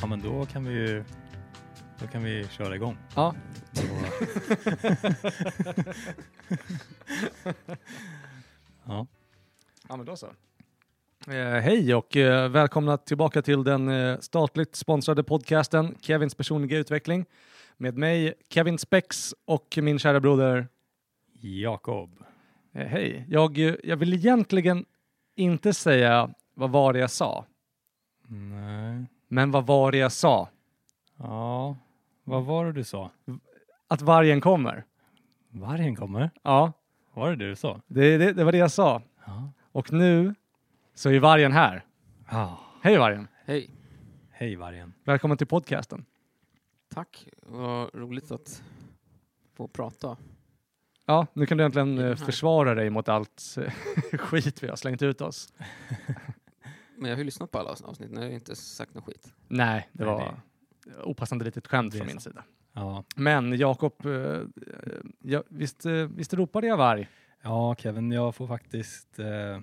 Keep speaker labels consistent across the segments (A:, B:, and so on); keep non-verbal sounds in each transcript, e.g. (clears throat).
A: Ja, men då kan vi ju då kan vi köra igång.
B: Ja.
A: Så- (laughs) ja.
B: Ja, men då så. Eh, hej och eh, välkomna tillbaka till den eh, statligt sponsrade podcasten Kevins personliga utveckling med mig Kevin Spex och min kära broder.
A: Jakob.
B: Eh, hej. Jag, eh, jag vill egentligen inte säga vad var det jag sa,
A: Nej.
B: men vad var det jag sa?
A: Ja, vad var det du sa?
B: Att vargen kommer.
A: Vargen kommer.
B: Ja,
A: Var det det du sa?
B: det, det, det var det jag sa.
A: Ja.
B: Och nu så är vargen här.
A: Ah,
B: Hej vargen!
C: Hej,
A: hej vargen.
B: Välkommen till podcasten.
C: tack. Vad roligt att få prata.
B: Ja, nu kan du äntligen eh,
C: Är den här?
B: försvara dig mot allt eh, (laughs) skit vi har slängt ut oss.
C: Men jag har ju lyssnat på alla avsnitt, nu har jag inte sagt något skit.
B: Nej, det
A: Nej,
B: var opassande litet skämt
A: Det är
B: från min
A: sant.
B: sida.
A: Ja.
B: Men Jakob, eh, eh, ja, visst, eh, visst ropade jag varg?
A: ja, Kevin, jag får faktiskt... Eh,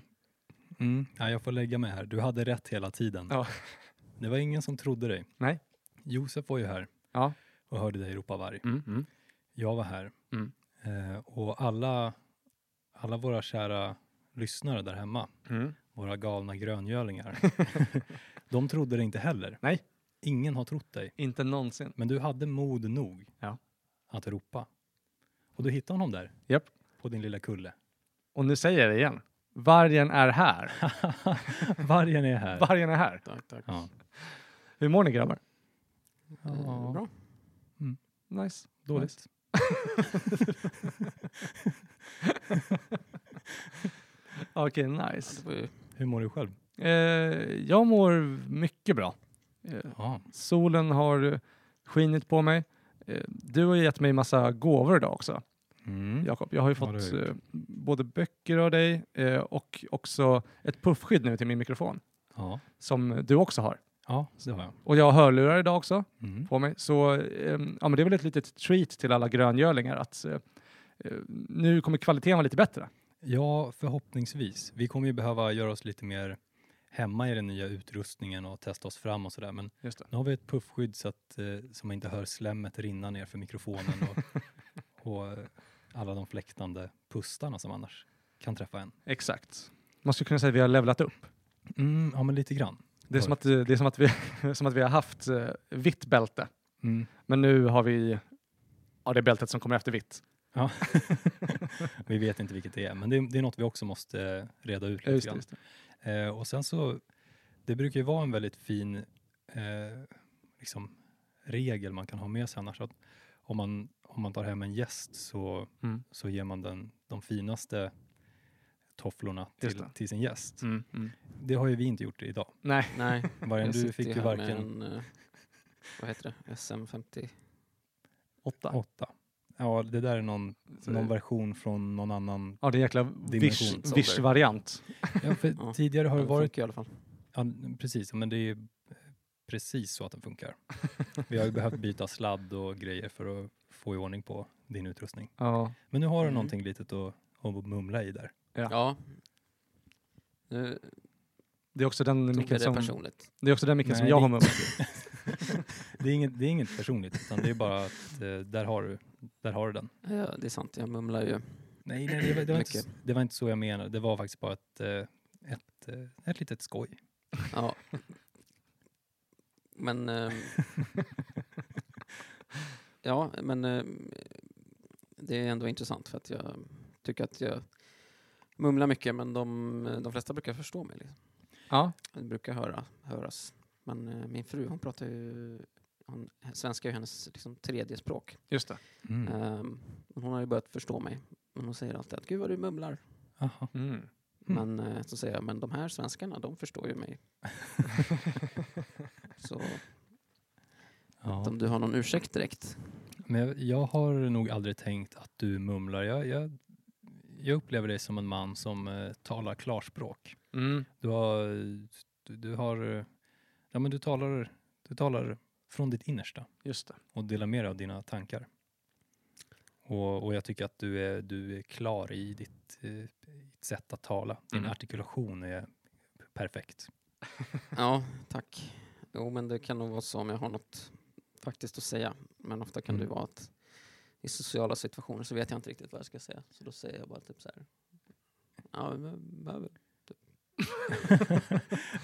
A: mm, ja, jag får lägga mig här. Du hade rätt hela tiden.
B: Ja.
A: Det var ingen som trodde dig.
B: Nej.
A: Josef var ju här
B: Ja.
A: och hörde dig ropa varg.
B: Mm.
A: Jag var här.
B: Mm.
A: Eh, och alla, alla våra kära lyssnare där hemma,
B: Mm.
A: våra galna
B: (laughs)
A: gröngölingar, de trodde det inte heller.
B: Nej.
A: Ingen har trott dig,
B: Inte någonsin.
A: men du hade mod nog
B: Ja.
A: att ropa. Och du hittade honom där,
B: Japp.
A: på din lilla kulle.
B: Och nu säger jag det igen. Vargen är här.
A: (laughs) Vargen är här.
B: Vargen är här.
C: Tack, tack.
A: Ja.
B: Hur mår ni grabbar?
C: Eh, Bra.
B: Nice.
A: Dåligt.
B: Okej,
C: Ja,
B: nice.
C: det var ju
A: Hur mår du själv?
B: Eh, jag mår mycket bra. Eh,
A: Ja,
B: Solen har skinit på mig. Eh, Du har ju gett mig massa gåvor idag också,
A: mm.
B: Jakob. Jag har ju
A: Ja, det har
B: fått
A: jag
B: eh, både böcker av dig eh, och också ett puffskydd nu till min mikrofon
A: ja.
B: som du också har.
A: ja det har jag.
B: Och jag har hörlurar idag också
A: Mm.
B: på mig. Så eh, ja, men det är väl ett litet treat till alla gröngölingar att eh, eh, nu kommer kvaliteten vara lite bättre.
A: Ja, förhoppningsvis. Vi kommer ju behöva göra oss lite mer hemma i den nya utrustningen och testa oss fram och sådär. Men
B: Just det.
A: nu har vi ett puffskydd så, att, eh, så man inte hör slemmet rinna ner för mikrofonen (laughs) och, och eh, alla de fläktande pustarna som annars kan träffa en.
B: Exakt. Man skulle kunna säga att vi har levlat upp.
A: Mm, ja, men lite grann.
B: Det är som att, eh, det är som att, vi, (laughs) som att vi har haft eh, vitt bälte,
A: Mm.
B: men nu har vi ja, det bältet som kommer efter vitt.
A: Ja. vi vet inte vilket det är, men det är, det är något vi också måste eh, reda ut lite
B: Ja, just det,
A: grann.
B: just det.
A: Eh, och sen så, det brukar ju vara en väldigt fin eh, liksom, regel man kan ha med sig annars. Att om, man, om man tar hem en gäst så,
B: Mm.
A: så ger man den de finaste tofflorna
B: Just
A: till,
B: det.
A: till sin gäst.
B: Mm,
A: Det har ju vi inte gjort idag.
B: Nej,
C: Nej,
A: Vargen,
C: Mm. jag
A: du
C: sitter
A: fick ju
C: här med
A: varken
C: en, eh, vad heter det? SM50?
B: åtta.
A: åtta. Ja, det där är någon,
B: Så-
A: någon version från någon
C: (laughs)
A: annan.
B: Ja, det är en jäkla vish-
A: Dimensionsålder.
B: vish-variant.
A: Ja, för
C: Ja,
A: tidigare har det
C: Den
A: varit,
C: funkar i alla fall.
A: ja, precis, men det är ju eh, precis så att den funkar. Vi har ju behövt byta sladd och grejer för att få i ordning på din utrustning.
B: ja.
A: Men nu har du
C: Mm.
A: någonting litet att, att mumla i där.
B: Ja.
C: Ja. Nu
B: Det är också den
C: tog
B: micken
C: jag det
B: som,
C: personligt.
B: det är också den micken som
A: Nej,
B: jag
A: det-
B: har med mig.
A: Det är inget, det är inget personligt, utan det är bara att eh, där, har du, där har du den.
C: Ja, det är sant, jag mumlar ju.
A: Nej, nej det, var, det, var inte,
C: Mycket.
A: det var inte så jag menade. Det var faktiskt bara ett, eh, ett, eh, ett litet skoj.
C: Ja. Men... ehm, ja, men ehm, det är ändå intressant för att jag tycker att jag mumlar mycket men de, de flesta brukar förstå mig. Liksom.
B: Ja.
C: Det brukar höra, höras. Men eh, min fru hon pratar ju... Hon, svenska är ju hennes liksom, tredje språk.
B: Just det.
A: Mm. Eh,
C: Ehm, men hon har ju börjat förstå mig. Men hon säger alltid att gud vad du mumlar.
A: Jaha.
B: Mm.
A: Mm.
C: Men eh, så säger jag, men de här svenskarna de förstår ju mig. så
A: Ja.
C: om du har någon ursäkt direkt.
A: Men jag, jag har nog aldrig tänkt att du mumlar. Jag, jag, jag upplever dig som en man som eh, talar klarspråk.
B: Mm.
A: Du har, du, du har eh, ja, men du talar, du talar från ditt innersta.
B: Just det.
A: och dela med dig av dina tankar. Och, och jag tycker att du är, du är klar i ditt, eh, ditt sätt att tala. Din
B: Mm.
A: artikulation är perfekt.
C: Ja, tack. Jo, men det kan nog vara så om jag har något faktiskt att säga. Men ofta kan
A: Mm.
C: det vara att i sociala situationer så vet jag inte riktigt vad jag ska säga. Så då säger jag bara typ så här. Ja, men behöver. (laughs)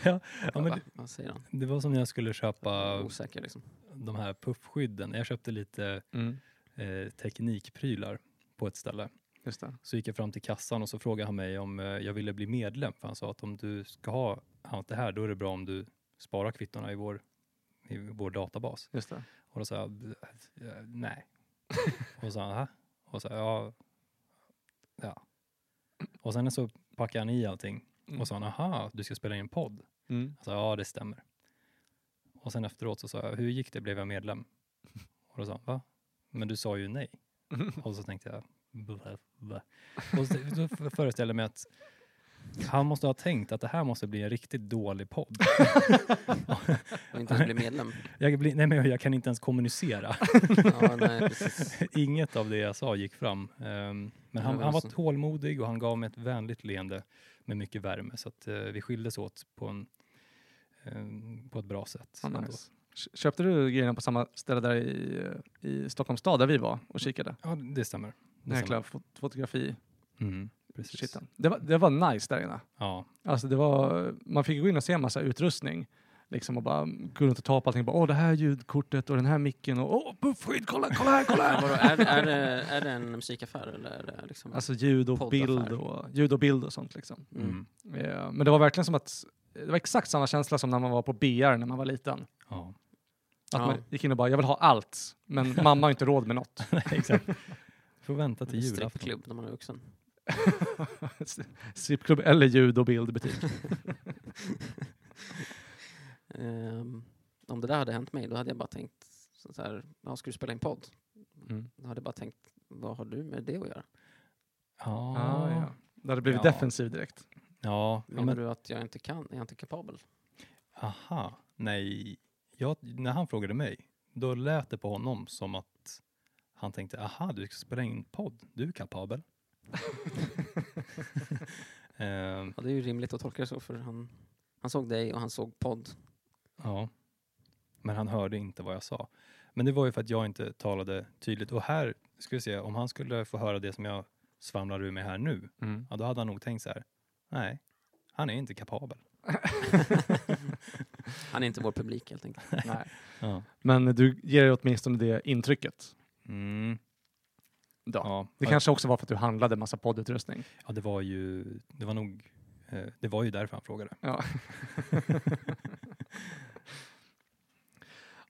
A: ja, ja, men
C: Va?
A: det,
C: Vad säger han?
A: det var som när jag skulle köpa
C: Osäker liksom.
A: de här puffskydden. Jag köpte lite
B: Mm.
A: eh, teknikprylar på ett ställe.
B: Just det.
A: Så gick jag fram till kassan och så frågade han mig om eh, jag ville bli medlem. För han sa att om du ska ha allt det här, då är det bra om du sparar kvittorna i vår, i vår databas.
B: Just det.
A: Och då sa jag, "B- eh, nej. och så sa han, "Aha." Och så, ja. ja. Och sen så packade han i allting.
B: Mm.
A: Och sa han, aha, du ska spela in en podd.
B: Mm.
A: Jag sa, Alltså, ja det stämmer. Och sen efteråt så sa jag, hur gick det, blev jag medlem? Och då sa han, va? Men du sa ju nej. Och så tänkte jag, blä, blä. Och så, då f- föreställde jag mig att han måste ha tänkt att det här måste bli en riktigt dålig podd.
C: Och inte ens (laughs) bli medlem.
A: Jag, blir, nej men jag kan inte ens kommunicera. (laughs)
C: Ja, (laughs) nej, precis.
A: Inget av det jag sa gick fram. Ehm, men han,
C: Ja,
A: han var
C: alltså.
A: tålmodig och han gav mig ett vänligt leende med mycket värme. Så att eh, vi skildes åt på, en, ehm, på ett bra sätt.
B: Ja,
A: ändå.
B: nice. Kö- Köpte du grejerna på samma ställe där i, eh, i Stockholms stad där vi var och kikade?
A: Ja, det stämmer. Det
B: Den här
A: stämmer.
B: jäkla fot- fotografi
A: Mm, precis.
B: shiten. Det var, det var nice där inne.
A: Ja,
B: Alltså det var, man fick gå in och se en massa utrustning. Liksom och bara gå runt och ta på allting. Bara, Åh, det här ljudkortet och den här micken och åh, puffskydd, kolla, kolla här,
C: (laughs)
B: kolla
C: Men
B: här.
C: vadå, är, det- är, det, är det en musikaffär eller är det liksom?
B: Alltså ljud och,
C: Poddaffär.
B: bild och, ljud och bild och sånt liksom.
C: Mm.
A: mm.
B: Eh, Men det var verkligen som att, det var exakt samma känsla som när man var på BR när man var liten.
A: ja. (laughs)
B: Att
C: Ja.
B: man gick in och bara, jag vill ha allt. (laughs) Men mamma har inte råd med (laughs) något.
A: exakt. Får vänta till julafton.
C: Strippklubb när man är vuxen.
B: Strippklubb eller ljud och bildbutik.
C: Ehm, om det där hade hänt mig, då hade jag bara tänkt så så här, ja, ska du spela in podd?
B: Mm.
C: Då hade jag bara tänkt, vad har du med det att göra?
A: Ja,
B: Ah, ja. Det hade blivit
A: Ja.
B: defensiv direkt.
A: ja. ja
C: Menar
A: men,
C: du att jag inte kan? Är jag inte kapabel?
A: aha, nej. Jag, när han frågade mig, då lät det på honom som att han tänkte, aha, du ska spela in podd, du är kapabel. Ehm,
C: Ja, det är ju rimligt att tolka det så, för han, han såg dig och han såg podd.
A: ja. Men han hörde inte vad jag sa. Men det var ju för att jag inte talade tydligt. Och här, ska vi se, om han skulle få höra det som jag svamlar ur mig här nu,
B: Mm. (laughs)
A: ja då hade han nog tänkt så här, nej, han är inte kapabel.
C: Han är inte vår publik helt enkelt.
B: Nej.
A: Ja.
B: Men du ger ju åtminstone det intrycket.
A: Mm.
B: Då.
A: Ja.
B: Det kanske också var för att du handlade massa poddutrustning.
A: ja, det var ju, det var nog, eh, det var ju därför han frågade.
B: Ja.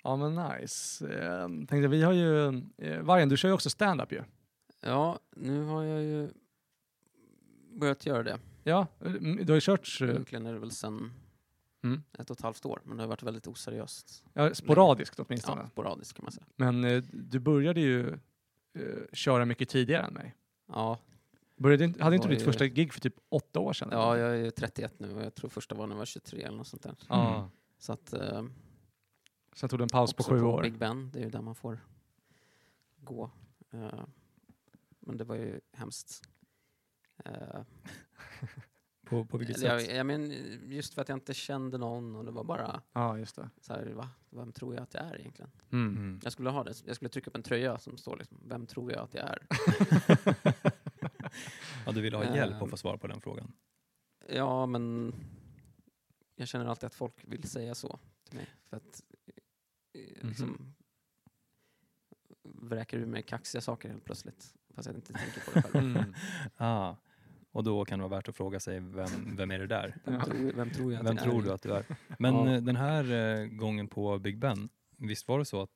B: ja men nice. Eh, tänkte, vi har ju, eh, Vargen, du kör ju också stand-up ju.
C: Ja, nu har jag ju börjat göra det.
B: Ja, mm, du har ju kört eh,
C: Egentligen är det väl sedan
B: Mm.
C: ett och ett halvt år, men det har varit väldigt oseriöst.
B: ja, sporadiskt åtminstone.
C: Ja, sporadiskt kan man säga.
B: Men eh, du började ju eh, köra mycket tidigare än mig.
C: Ja,
B: Började, inte- hade inte du
C: Oj,
B: ditt
C: oj.
B: första gig för typ åtta år sedan?
C: ja,
B: eller?
C: jag är ju 31 nu och jag tror första var när jag var 23 eller något sånt där.
B: Ja.
A: Mm.
C: Så att, eh,
B: Sen tog du en paus Alltså på
C: också
B: sju år.
C: Big Ben, det är ju där man får gå. Eh, men det var ju hemskt. Eh,
A: På, på vilket
C: eller jag,
A: sätt?
C: jag men, just för att jag inte kände någon och det var bara
B: Ja, just det.
C: så här, va? Vem tror jag att jag är egentligen?
B: Mm.
A: Mm.
C: Jag skulle ha det. Jag skulle trycka upp en tröja som står liksom, vem tror jag att jag är?
A: (laughs) Ja, du ville ha hjälp att
C: Ehm.
A: få svar på den frågan.
C: Ja, men jag känner alltid att folk vill säga så till mig. För att eh, liksom, vräker ur mig kaxiga saker helt plötsligt. Fast jag inte tänker på det
A: (laughs)
C: själv.
B: Mm.
A: Ah. Och då kan det vara värt att fråga sig, vem, vem är det där?
C: Vem, tror, vem tror jag att
A: Vem
C: jag
A: tror
C: är?
A: du att du är? Men
C: Ja.
A: eh, den här eh, gången på Big Ben, visst var det så att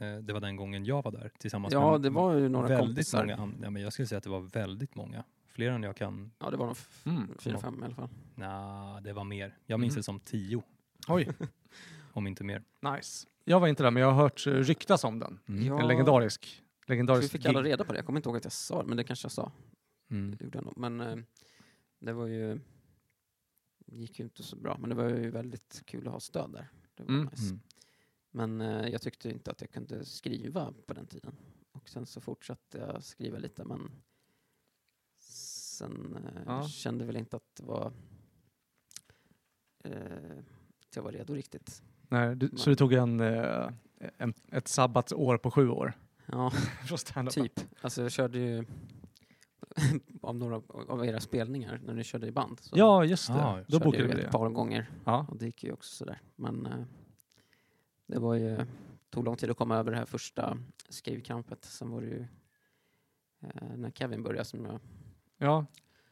A: eh, det var den gången jag var där tillsammans
C: Ja,
A: med
C: det var ju några
A: väldigt
C: kompisar.
A: många an- ja, men jag skulle säga att det var väldigt många. Fler än jag kan,
C: Ja, det var nog f-
B: Mm.
C: fyra, fem i alla fall.
A: nja, det var mer. Jag minns
B: Mhm.
A: det som tio,
B: Oj,
A: om inte mer.
B: nice. Jag var inte där, men jag har hört eh, ryktas om den.
A: Mm.
C: Ja,
B: En legendarisk,
C: så vi
B: legendarisk
C: fick alla
B: gig.
C: reda på det. Jag kommer inte ihåg att jag sa det, men det kanske jag sa.
A: Mm.
C: Det gjorde jag nog. Men eh, det var ju... Det gick ju inte så bra, men det var ju väldigt kul att ha stöd där. Det var
B: Mm.
C: nice.
A: Mm.
C: Men eh, jag tyckte inte att jag kunde skriva på den tiden. Och sen så fortsatte jag skriva lite men sen eh,
B: Ja.
C: kände väl inte att det var eh, att jag var redo riktigt.
B: Nej, du, så du tog en, eh, en, ett sabbatsår på sju år? (laughs)
C: Ja,
B: Från stand-up.
C: typ. Alltså jag körde ju (laughs) av några av era spelningar när ni körde i band. Så
B: Ja, just det.
A: Ah,
B: Då
C: körde jag
B: bokade vi
C: ju
B: det.
C: ett par gånger
B: Ja.
C: och det gick ju också sådär. Men eh, det var ju, tog lång tid att komma över det här första skrivkrampet. Sen var det ju eh, när Kevin började som jag
B: Ja.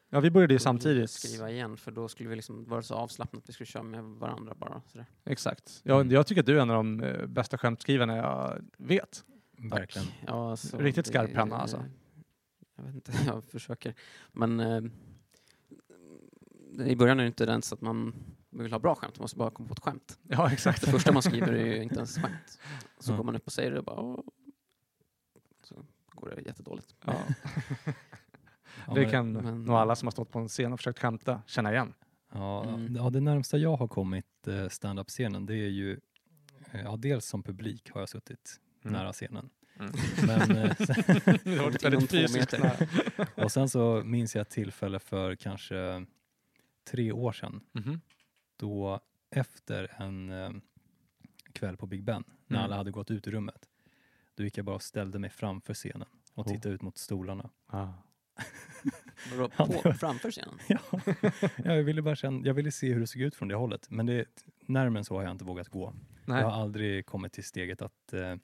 B: ja, vi började ju
C: började
B: samtidigt.
C: skriva igen för då skulle vi liksom vara så avslappnat vi skulle köra med varandra bara. Sådär.
B: Exakt. Jag,
A: Mm.
B: jag tycker att du är en av de eh, bästa skämtskrivarna jag vet.
A: Mm. Verkligen.
C: Ja, alltså,
B: Riktigt
C: det-
B: skarp panna, alltså.
C: Jag vet inte, (laughs) jag försöker. Men eh, i början är det inte ens att man vill ha bra skämt, man måste bara komma på ett skämt.
B: Ja, (laughs) exakt.
C: Det första man skriver
A: (laughs)
C: är ju inte ens skämt. Så
A: Ja.
C: går man upp och säger det och bara... "Åh." Så går det jättedåligt.
B: Ja, (laughs)
A: Ja,
B: det
A: men-
B: kan
C: men-
B: nog alla som har stått på en scen och försökt skämta känna igen.
A: Ja,
C: Mm.
A: ja, det närmsta jag har kommit eh, stand-up-scenen det är ju, eh, ja dels som publik har jag suttit
B: Mm. (laughs)
A: nära scenen.
B: Mm.
C: (laughs)
A: Men, eh, sen,
B: Det har varit
C: Inom
B: väldigt
C: två
B: fysiskt.
C: meter.
B: nära.
A: och sen så minns jag ett tillfälle för kanske tre år sedan
B: Mhm.
A: då efter en eh, kväll på Big Ben, när
B: Mm.
A: alla hade gått ut ur rummet, då gick jag bara och ställde mig framför scenen och
B: Oh.
A: tittade ut mot stolarna.
B: Ja.
C: Vadå,
A: Ja, det
C: på,
A: var-
C: framför scenen?
A: (laughs) ja, jag, ville bara känna, jag ville se hur det såg ut från det hållet, men det, närmare än så har jag inte vågat gå.
B: Nej.
A: Jag har aldrig kommit till steget att eh,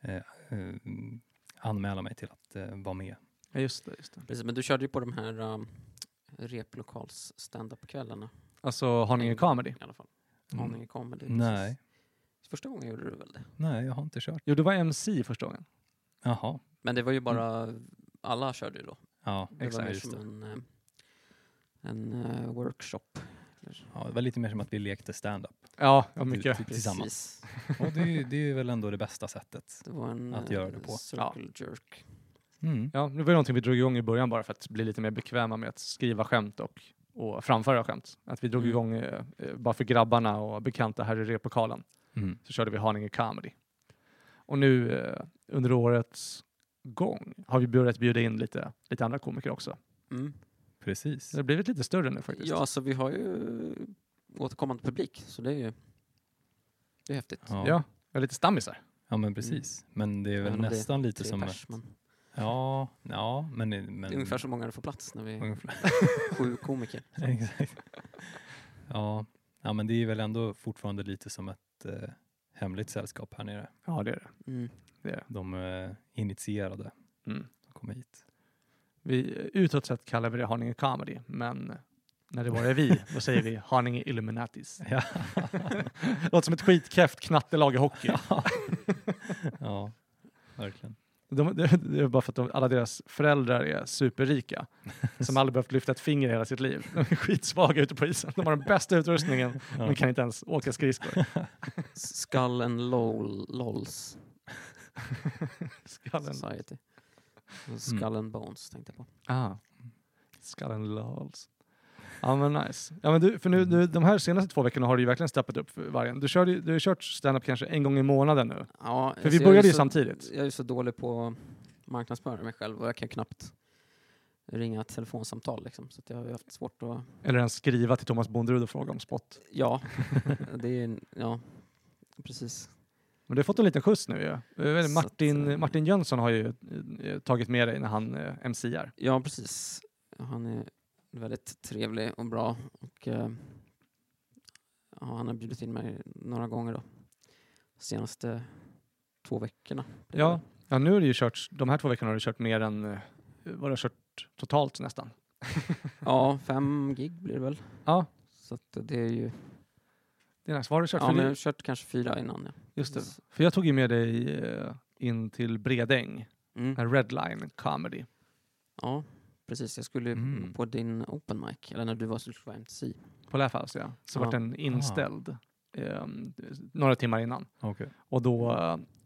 A: eh, eh, anmäla mig till att eh, vara med.
B: Ja, just det. Just det.
C: Precis, men du körde ju på de här um, replokals up kvällarna
B: Alltså Haninge Comedy.
C: i alla fall.
A: Mm.
C: Haninge comedy. precis.
A: Nej,
C: Första gången gjorde du väl det?
A: nej, jag har inte kört.
B: Jo, du var MC första gången.
A: Jaha,
C: Men det var ju bara... Alla körde ju då.
A: ja,
C: Det var
A: exakt.
C: mer
A: just
C: som
A: det.
C: en, eh, en eh, workshop.
A: Ja, det var lite mer som att vi lekte
B: (laughs)
A: stand-up
B: Ja, typ, ja mycket.
A: till- tillsammans.
C: Precis.
A: Och det är, ju- det är ju väl ändå det bästa sättet.
C: Det var en
A: Att
C: eh,
A: göra det på.
C: circle jerk.
A: Mm.
B: Ja, det var ju någonting vi drog igång i början bara för att bli lite mer bekväma med att skriva skämt och, och framföra skämt. Att vi drog
C: Mm.
B: igång eh, eh, bara för grabbarna och bekanta här i replokalen.
A: Mm.
B: så körde vi Haninge Comedy. Och nu eh, under årets gång har vi börjat bjuda in lite, lite andra komiker också.
C: Mm.
A: Precis.
B: Så det har blivit lite större nu faktiskt.
C: Ja, så vi har ju återkommande publik, så det är ju det är häftigt.
A: Ja, ja.
B: ja vi har lite stammisar.
A: men precis. Men det är väl
C: Mm. Även om det är
A: nästan lite
C: Tre
A: som...
C: pers, men
A: Ja, ja, men... men
C: det är ungefär så många det får plats när vi är
A: ungefär.
C: (laughs) sju komiker.
A: (laughs)
C: (laughs)
A: Exakt. Ja. ja, men det är väl ändå fortfarande lite som ett eh, hemligt sällskap här nere.
B: Ja, det är det.
C: Mm.
A: De eh, initierade
B: Mm.
A: som kommer hit.
B: Vi, eh, utåt sett kallar vi det Haninge Comedy, men när det bara är (laughs) vi, då säger vi Haninge Illuminatis.
A: (laughs)
B: (laughs)
A: Ja.
B: Låter som ett skitkräft knattelag i hockey. (laughs)
A: ja, verkligen.
B: De, det, det är bara för att de, alla deras föräldrar är superrika, som aldrig behövt lyfta ett finger i hela sitt liv. De är skitsvaga ute på isen. De har den bästa utrustningen,
A: Ja.
B: men kan inte ens åka skridskor.
C: Skull and lol, Lols
B: Skallen.
C: Society. Skull and Bones tänkte jag på.
B: Ah. Skallen lols. Ja men nice. Ja, men du, för nu, nu, de här senaste två veckorna har du ju verkligen steppat upp för vargen. Du, körde, ju- du har ju kört stand-up kanske en gång i månaden nu.
C: Ja,
B: För
C: alltså
B: vi
C: jag är
B: började ju
C: så-
B: samtidigt.
C: Jag är ju så dålig på att marknadsföra mig själv och jag kan knappt ringa ett telefonsamtal liksom. Så att jag har ju haft svårt att...
B: Eller ens skriva till Thomas Bondrud och fråga om spot.
C: Ja, (laughs) det är ju... Ja, precis.
B: Men du har fått en liten skjuts nu ju. Jag vet inte,
C: Så att,
B: Martin,
C: eh,
B: Martin Jönsson har ju eh, tagit med dig när han eh, MC'ar.
C: Ja, precis. Han är väldigt trevlig och bra och eh, ja, han har bjudit in mig några gånger då. Senaste två veckorna.
B: Ja. ja, nu har du ju kört, de här två veckorna har du kört mer än eh, vad du har kört totalt nästan.
C: Ja, fem gig blir det väl.
B: Ja,
C: Så att det är ju...
B: det är nice. Vad har du kört?
C: Ja,
B: för
C: men
B: li-
C: jag har kört kanske fyra innan. Ja.
B: Just det. För jag tog ju med dig eh, in till Bredäng,
C: Mm.
B: en redline comedy.
C: Ja, precis. Jag skulle ju
A: Mm.
C: på din open mic, eller när du var Social MC.
B: på Laughouse, ja. Så
C: Ja.
B: vart den inställd ehm, några timmar innan.
A: Okej.
B: Och då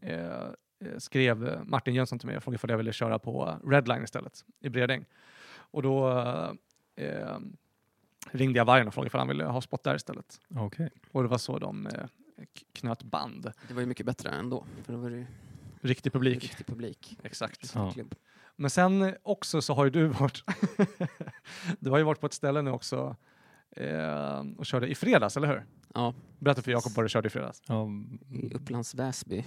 B: eh, eh, skrev Martin Jönsson till mig och frågade om jag ville köra på Redline istället i Bredäng. Och då eh, eh, ringde jag Vargen och frågade om han ville ha spot där istället.
A: Okej.
B: Och det var så de eh, k- knöt band.
C: Det var ju mycket bättre ändå, för då var det ju
B: Riktig publik.
C: riktig publik.
B: Exakt.
A: Ja.
C: Klubb.
B: (laughs) Men sen också så har ju du varit... du har ju varit på ett ställe nu också eh, och körde i fredags, eller hur?
C: Ja,
B: Berätta för Jakob vad du körde i fredags.
A: Ja.
B: Mm.
C: i Upplands Väsby.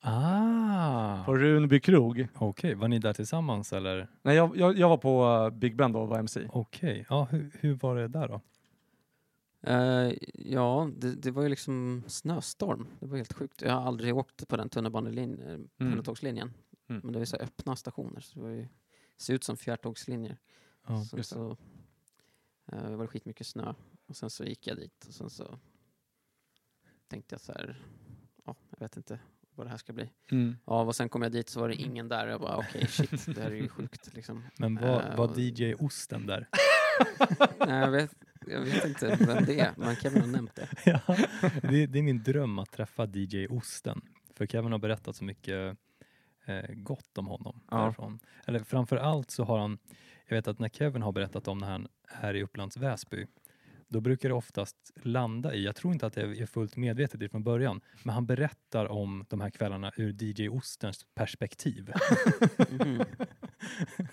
A: Ah!
B: På Runby krog.
A: Okej, var ni där tillsammans eller?
B: Nej, jag, jag, jag var på eh, Big Ben då och var MC.
A: Okej, ja, hur, hur var det där då?
C: Eh, ja, det, det var ju liksom snöstorm. Det var helt sjukt. Jag har aldrig åkt på den tunnelbanelinjen, eh, pendeltågslinjen.
B: Mm.
C: Men det var ju så här öppna stationer, så det var ju, ser ut som fjärrtågslinjer.
A: Ja,
C: Sen
B: just det.
C: så eh, var det skitmycket snö. Och sen så gick jag dit och sen så tänkte jag så här, ja, jag vet inte vad det här ska bli.
B: (laughs)
C: Ja, och sen kom jag dit så var det ingen där. Jag bara, okej, shit, det här är (laughs) ju sjukt liksom.
A: Men var,
C: Eh,
A: var
C: och-
A: DJ Osten där?
C: Nej, jag vet, jag vet inte vem det är, men Kevin har nämnt det.
A: (laughs) ja, det, det är min dröm att träffa DJ Osten. För Kevin har berättat så mycket eh, gott om honom.
B: Ja.
A: Därifrån. Eller framför allt så har han, jag vet att när Kevin har berättat om när han är i Upplands Väsby, då brukar det oftast landa i, jag tror inte att det är fullt medvetet ifrån början, men han berättar om de här kvällarna ur DJ Ostens perspektiv.
B: Mm.
C: Mhm.
A: (laughs)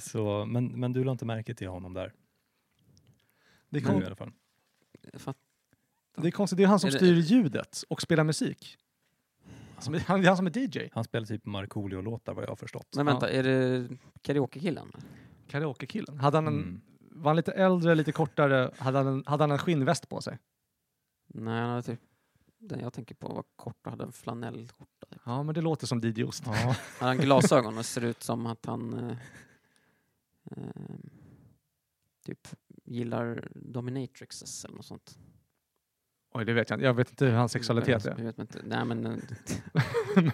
A: så, men, men du la inte märke till honom där,
B: Det,
A: nu
B: är kon-
A: i
C: Mm.
A: alla fall.
C: Jag fatt-
B: det är konstigt, det är han som
C: Är det-
B: styr ljudet och spelar musik. Som, är- han, det är han som är DJ.
A: Han spelar typ Markoolio-låtar vad jag har förstått.
C: Men vänta, är det karaokekillen?
B: Karaokekillen. Hade han en,
A: Mm.
B: Var han lite äldre, lite kortare? Hade han en, hade han en skinnväst på sig?
C: Nej, han hade typ, den jag tänker på var kort och hade en flanellskjorta. typ.
B: Ja, men det låter som DJ Ost.
A: Ja.
C: Han hade glasögon och ser ut som att han eh, eh, typ gillar dominatrixes eller något sånt.
B: Oj, det vet jag inte. Jag vet inte hur hans sexualitet (laughs)
C: Jag
B: är.
C: vet inte. Nej, men eh,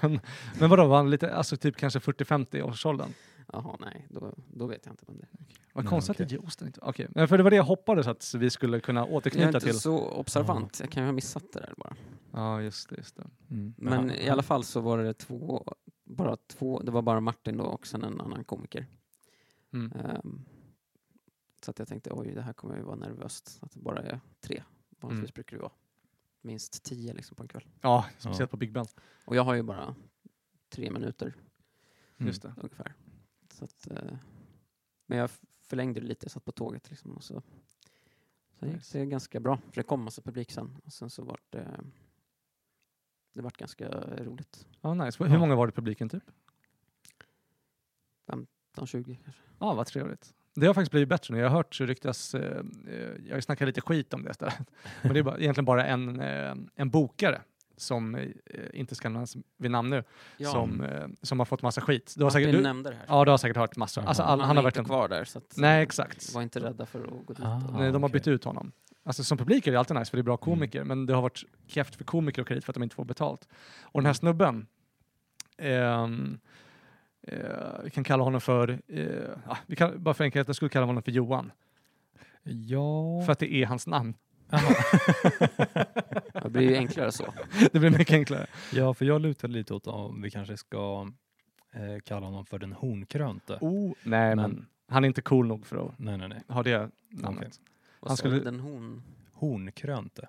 B: men, men vadå, var han lite, alltså typ kanske 40-50 årsåldern?
C: jaha, nej, då, då vet jag inte vem det är.
B: Vad
A: Nej,
B: konstigt att
A: okej.
B: DJ Osten inte... Okej, men för det var det jag hoppades att vi skulle kunna
C: Jag är
B: återknyta
C: inte
B: till.
C: så observant. Jag kan ju ha missat det där bara.
B: Ja, just det. Just det.
A: Mm.
C: Men
A: han-
C: i alla fall så var det två, bara två, det var bara Martin då och sen en annan komiker.
B: Mm.
C: Ehm, så att jag tänkte oj, det här kommer jag ju vara nervöst. Att det bara är tre. Vanligtvis
B: Mm.
C: brukar det vara minst tio liksom på en kväll.
B: Ja, speciellt på Big Ben.
C: Och jag har ju bara tre minuter
A: Mm.
B: Just det.
C: ungefär. Så att, eh, men jag f- förlängde det lite, jag satt på tåget liksom och så. Sen gick det ganska bra, för det kom massa publik sen. Och sen så var det, det vart ganska roligt.
B: Ja, nice. Hur
A: Ja.
B: många var det i publiken typ?
C: 15-20 kanske.
B: Ja, vad trevligt. Det har faktiskt blivit bättre nu. Jag har hört så ryktas, eh, eh, jag har ju snackat lite skit om det (laughs) stället, men det är bara, egentligen bara en, eh, en bokare som eh, inte ska nämnas vid namn nu, som, eh, som har fått massa skit. Du har
C: Martin
B: säkert, du,
C: nämnde det här.
B: ja, du har säkert hört massor. Alltså,
A: Jaha.
B: all, han har
C: är
B: varit
C: inte
B: en,
C: kvar där, så att,
B: Nej,
C: eh,
B: exakt.
C: var inte rädda för att gå dit.
A: Ah.
B: Nej,
C: och-
B: de har
A: okej. Mm.
B: bytt ut honom. Alltså som publik är det alltid nice för det är bra komiker, men det har varit kräft för komiker och kredit för att de inte får betalt. Och den här snubben, ehm, eh, vi kan kalla honom för, eh, ja, vi kan, bara för enkelhetens skull kalla honom för Johan,
A: Ja.
B: för att det är hans namn. (laughs)
C: Det blir ju
B: (laughs)
C: enklare så.
B: Det blir mycket enklare.
A: ja, för jag lutade lite åt om vi kanske ska eh, kalla honom för den hornkrönte.
B: Oh, nej, men.
A: Men-
B: han är inte cool nog för att
A: Nej, nej, nej.
B: ha det namnet.
C: Och
B: Han
C: så
B: skulle-
C: den hon.
A: Hornkrönte.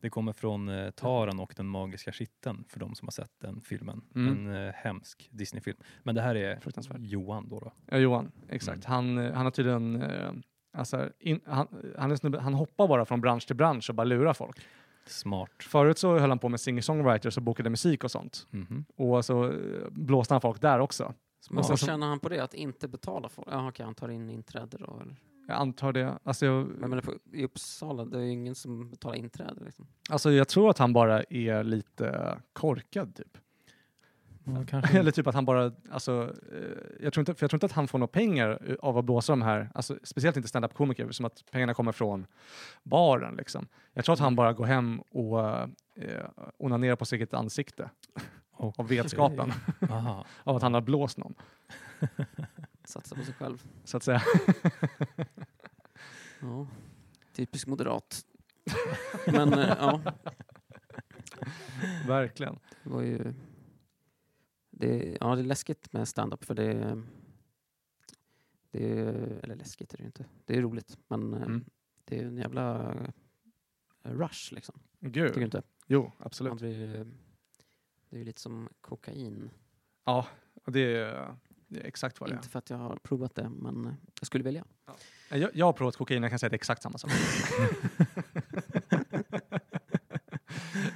A: Det kommer från eh, Taran och den magiska kitteln för de som har sett den filmen.
B: Mm.
A: En eh, hemsk Disneyfilm. Men det här är Mm.
B: Fruktansvärt.
A: Johan då. då.
B: Ja, Johan, exakt. Han, eh, han har tydligen, eh, alltså, in, han, han, är snubbe, han hoppar bara från bransch till bransch och bara lurar folk.
A: Smart.
B: Förut så höll han på med singer-songwriters och bokade musik och sånt.
A: Mhm.
B: Och så eh, blåste han folk där också.
C: Men
B: sen
C: vad
B: så-
C: tjänar han på det? Att inte betala folk? Jaha, okej, han tar in inträde då? Eller?
B: Jag antar det. Alltså jag,
C: Men jag menar, på, i Uppsala, det är ju ingen som betalar inträde. Liksom.
B: alltså jag tror att han bara är lite korkad typ.
A: Ja,
B: (laughs)
A: kanske.
B: Eller typ att han bara, alltså, eh, jag tror, inte, för jag tror inte att han får några pengar eh, av att blåsa de här, alltså, speciellt inte stand-up komiker, som att pengarna kommer från baren liksom. Jag tror att han bara går hem och eh, eh, onanerar på sitt eget ansikte
A: Och,
B: av vetskapen
A: aha.
B: av att han har blåst någon,
C: Satsa på sig själv.
B: så att säga. (laughs)
C: Ja.
B: (laughs)
C: Typisk moderat. Men eh, ja,
B: Verkligen.
C: det var ju... Det, ja, det är läskigt med stand-up för det... det är- eller läskigt är det ju inte. Det är roligt, men eh,
B: Mm.
C: det är en jävla eh, rush liksom. Tycker du
B: Gud.
C: inte?
B: Jo,
C: Man
B: absolut.
C: blir, eh, det är ju lite som kokain.
B: Ja, det är, det är exakt vad det är.
C: Inte för att jag har provat det, men eh, jag skulle vilja.
B: Jag, jag har provat kokain, jag kan säga att det är exakt samma (laughs) sak.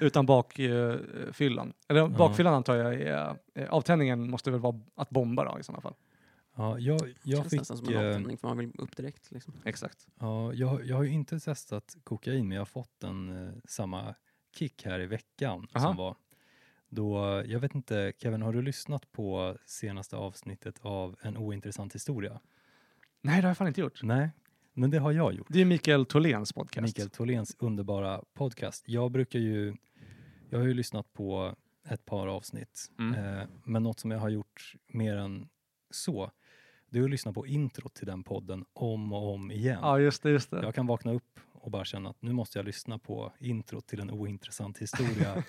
B: Utan bakfyllan. Eller bakfyllan antar jag är, eh, avtändningen måste väl vara att bomba då i sådana fall.
A: Ja, jag, jag,
C: Känns
A: fick,
C: nästan som en
A: eh,
C: avtändning för man vill upp direkt. Liksom.
B: Exakt.
A: ja, jag, jag har ju inte testat kokain, men jag har fått en eh, samma kick här i veckan
B: Aha.
A: som var då, eh, jag vet inte, Kevin, har du lyssnat på senaste avsnittet av En ointressant historia?
B: Nej, det har jag fan inte gjort.
A: Nej, men det har jag gjort.
B: Det är Mikael Tholens podcast.
A: Mikael Tholens underbara podcast. Jag brukar ju, jag har ju lyssnat på ett par avsnitt,
B: Mm.
A: eh, men något som jag har gjort mer än så, det är att lyssna på introt till den podden om och om igen.
B: Ja, just det. Just det.
A: Jag kan vakna upp och bara känna att nu måste jag lyssna på introt till en ointressant historia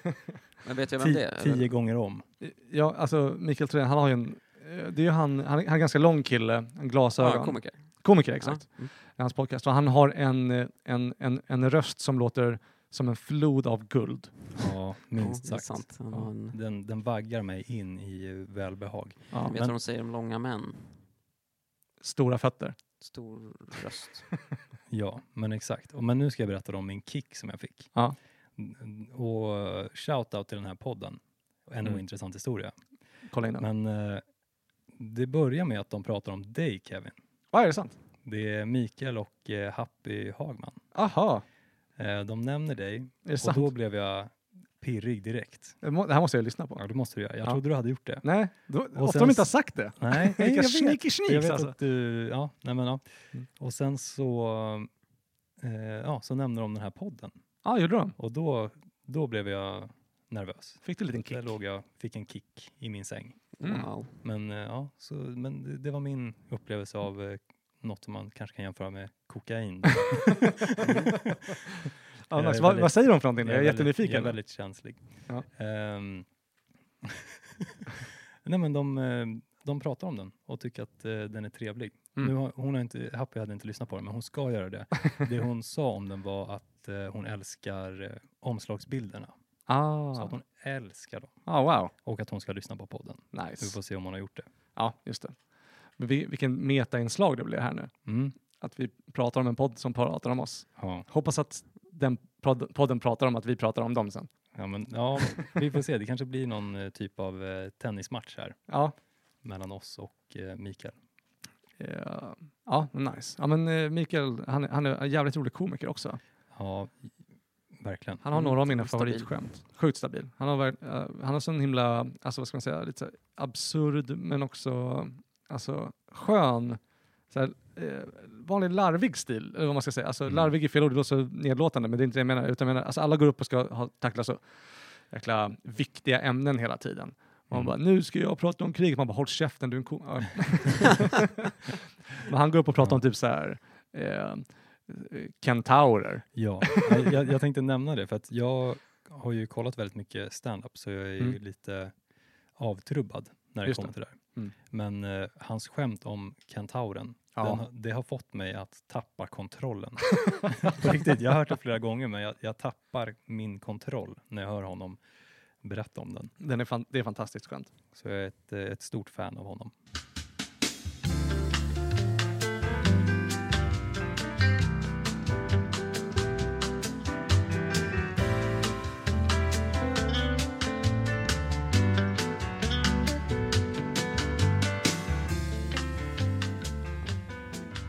C: Men vet jag vem det
A: ti-
C: är?
A: tio
C: eller?
A: gånger om.
B: Ja, alltså Mikael Thorén, han har ju en... eh, Det är ju han, han, är- han är en ganska lång kille, en glasögon.
C: Ja, komiker.
B: Komiker, exakt.
C: Ja. Mm.
B: Det är hans podcast. Och han har en, eh, en, en, en röst som låter som en flod av guld.
A: Ja, minst
C: Ja, det är
A: sagt.
C: sant. Han
B: Ja.
C: har en,
A: Den, den vaggar mig in i eh, välbehag.
B: Ja,
C: vet
A: men-
C: vad de säger om långa män?
B: stora fötter.
C: Stor röst.
A: Ja, men exakt. Och, men nu ska jag berätta om min kick som jag fick.
B: Ja.
A: Mm, Och eh, shout-out till den här podden. En
B: Mm.
A: ointressant historia.
B: Kolla in den.
A: Men eh, det börjar med att de pratar om dig Kevin.
B: Vad Ah, är det sant?
A: Det är Mikael och eh, Happy Hagman.
B: Aha,
A: Eh, de nämner dig
B: är det
A: och
B: sant?
A: då blev jag pirrig direkt.
B: Det må- Det här måste jag lyssna på.
A: Ja, det måste du göra. Jag
B: Ja.
A: trodde du hade gjort det.
B: Nej, då, ofta
A: sen
B: de inte har
A: s-
B: sagt det.
A: (laughs) Nej, nej,
B: Vilka
A: jag vet.
B: sneaky sneaks
A: Jag vet
B: alltså.
A: att du, ja, nej men ja.
B: Mm.
A: Och sen så, eh, ja, så nämner de den här podden.
B: Ja, gjorde de?
A: Och då, då blev jag nervös.
B: Fick du en liten kick?
A: Där
B: (laughs)
A: låg jag, fick en kick i min säng.
B: Mm.
C: Wow.
A: Men, eh, ja, så, men det, det var min upplevelse av eh, något som man kanske kan jämföra med (laughs) kokain.
B: Ja,
A: Jag
B: nice.
A: är
B: vad,
A: väldigt-
B: vad säger de för någonting? Jag är,
A: väldigt-
B: jättenyfiken.
A: Jag är väldigt känslig.
B: Ja.
A: Ehm, (laughs) nej men de, eh, de pratar om den och tycker att eh, den är trevlig.
B: Mm.
A: Nu har, hon har inte, Happy hade inte lyssnat på den, men hon ska göra det. det hon sa om den var att eh, hon älskar eh, omslagsbilderna. Så
B: ah.
A: att hon älskar dem.
B: ah, wow.
A: Och att hon ska lyssna på podden. Vi
B: Nice.
A: får se om hon har gjort det.
B: Ja, just det. Men vi, vilken metainslag det blir här nu.
A: Mm.
B: Att vi pratar om en podd som pratar om oss.
A: Ja.
B: Hoppas att den prod- podden pratar om att vi pratar om dem sen.
A: Ja, men, ja, vi får se. Det kanske blir någon eh, typ av eh, tennismatch här
B: Ja,
A: mellan oss och eh, Mikael.
B: eh, ja nice. Ja, men eh, Mikael, han, är- han är en jävligt rolig komiker också.
A: Ja, verkligen.
B: Han har
C: Mm,
B: några av mina
C: sjukt stabil.
B: favoritskämt. Sjukt stabil. Han har, ver- eh, han har sån himla, alltså vad ska man säga, lite så här absurd men också alltså, skön, så här, eh, vanlig larvig stil, eller vad man ska säga. Alltså
A: Mm.
B: larvig är fel ord, det låter så nedlåtande, men det är inte det jag menar. Utan jag menar alltså, alla går upp och ska ha, tackla så jäkla viktiga ämnen hela tiden. Och man
A: Mm.
B: bara, nu ska jag prata om kriget. Man bara, håll käften, du är en ko. Ja. men han går upp och pratar om typ så här, eh, eh, kentaurer.
A: (laughs) Ja, jag- jag, jag tänkte nämna det för att jag har ju kollat väldigt mycket stand-up så jag är ju
B: Mm.
A: lite avtrubbad när det
B: Just
A: kommer
B: det.
A: till det där.
B: Mm.
A: Men eh, hans skämt om kentauren,
B: Ja.
A: den, har- det har fått mig att tappa (laughs) kontrollen. På riktigt, jag har hört det flera gånger men jag, jag tappar min kontroll när jag hör honom berätta om den.
B: Den är fan, det är fantastiskt skönt.
A: Så jag är ett, eh, ett stort fan av honom.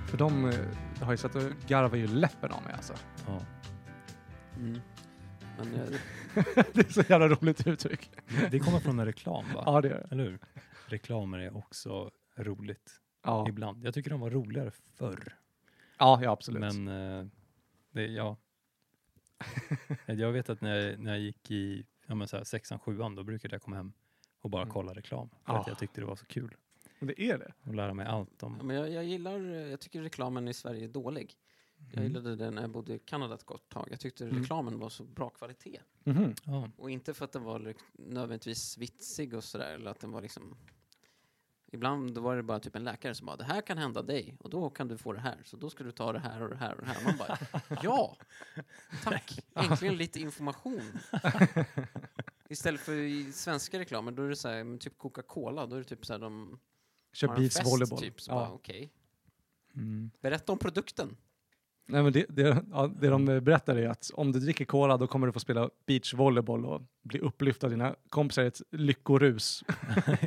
B: För de eh, har ju sett och garvar ju läppen av mig alltså.
A: Ja.
C: Mm. Men jag,
B: (laughs) det är så jävla roligt uttryck.
A: Det kommer från en reklam (laughs) va?
B: Ja, det gör det.
A: Eller hur? Reklamer är också roligt
B: Ja,
A: ibland. Jag tycker de var roligare förr.
B: ja, ja absolut.
A: Men eh, det,
B: (laughs)
A: ja. jag vet att när jag, när jag gick i ja, men så här, sexan, sjuan, då brukade jag komma hem och bara
B: Mm.
A: kolla reklam. För att
B: Ah.
A: jag tyckte det var så kul
B: Men det är det.
A: att lära mig allt
C: ja,
A: om.
C: men jag, jag gillar, eh, jag tycker reklamen i Sverige är dålig. Jag
A: Mm.
C: gillade den när jag bodde i Kanada ett kort tag. Jag tyckte
B: Mm.
C: reklamen var så bra kvalitet.
B: Mhm.
A: Ja.
C: Och inte för att den var lik- nödvändigtvis vitsig och sådär, eller att den var liksom... Ibland då var det bara typ en läkare som bara “det här kan hända dig och då kan du få det här, så då ska du ta det här och det här och det här”. Och man bara “ja, tack, äntligen lite information”. Istället för i svenska reklamer, då är det så här, men typ Coca-Cola, då är det typ så här de
B: Kör
C: har en fest
B: beachvolleyboll.
C: typ, så bara
B: ja.
C: okej.
A: mm.
B: (laughs)
C: Berätta om (laughs) produkten.
B: Nej, men det, det, ja, det de eh, berättar är att om du dricker cola då kommer du få spela beachvolleyboll och bli upplyft av dina kompisar i ett lyckorus.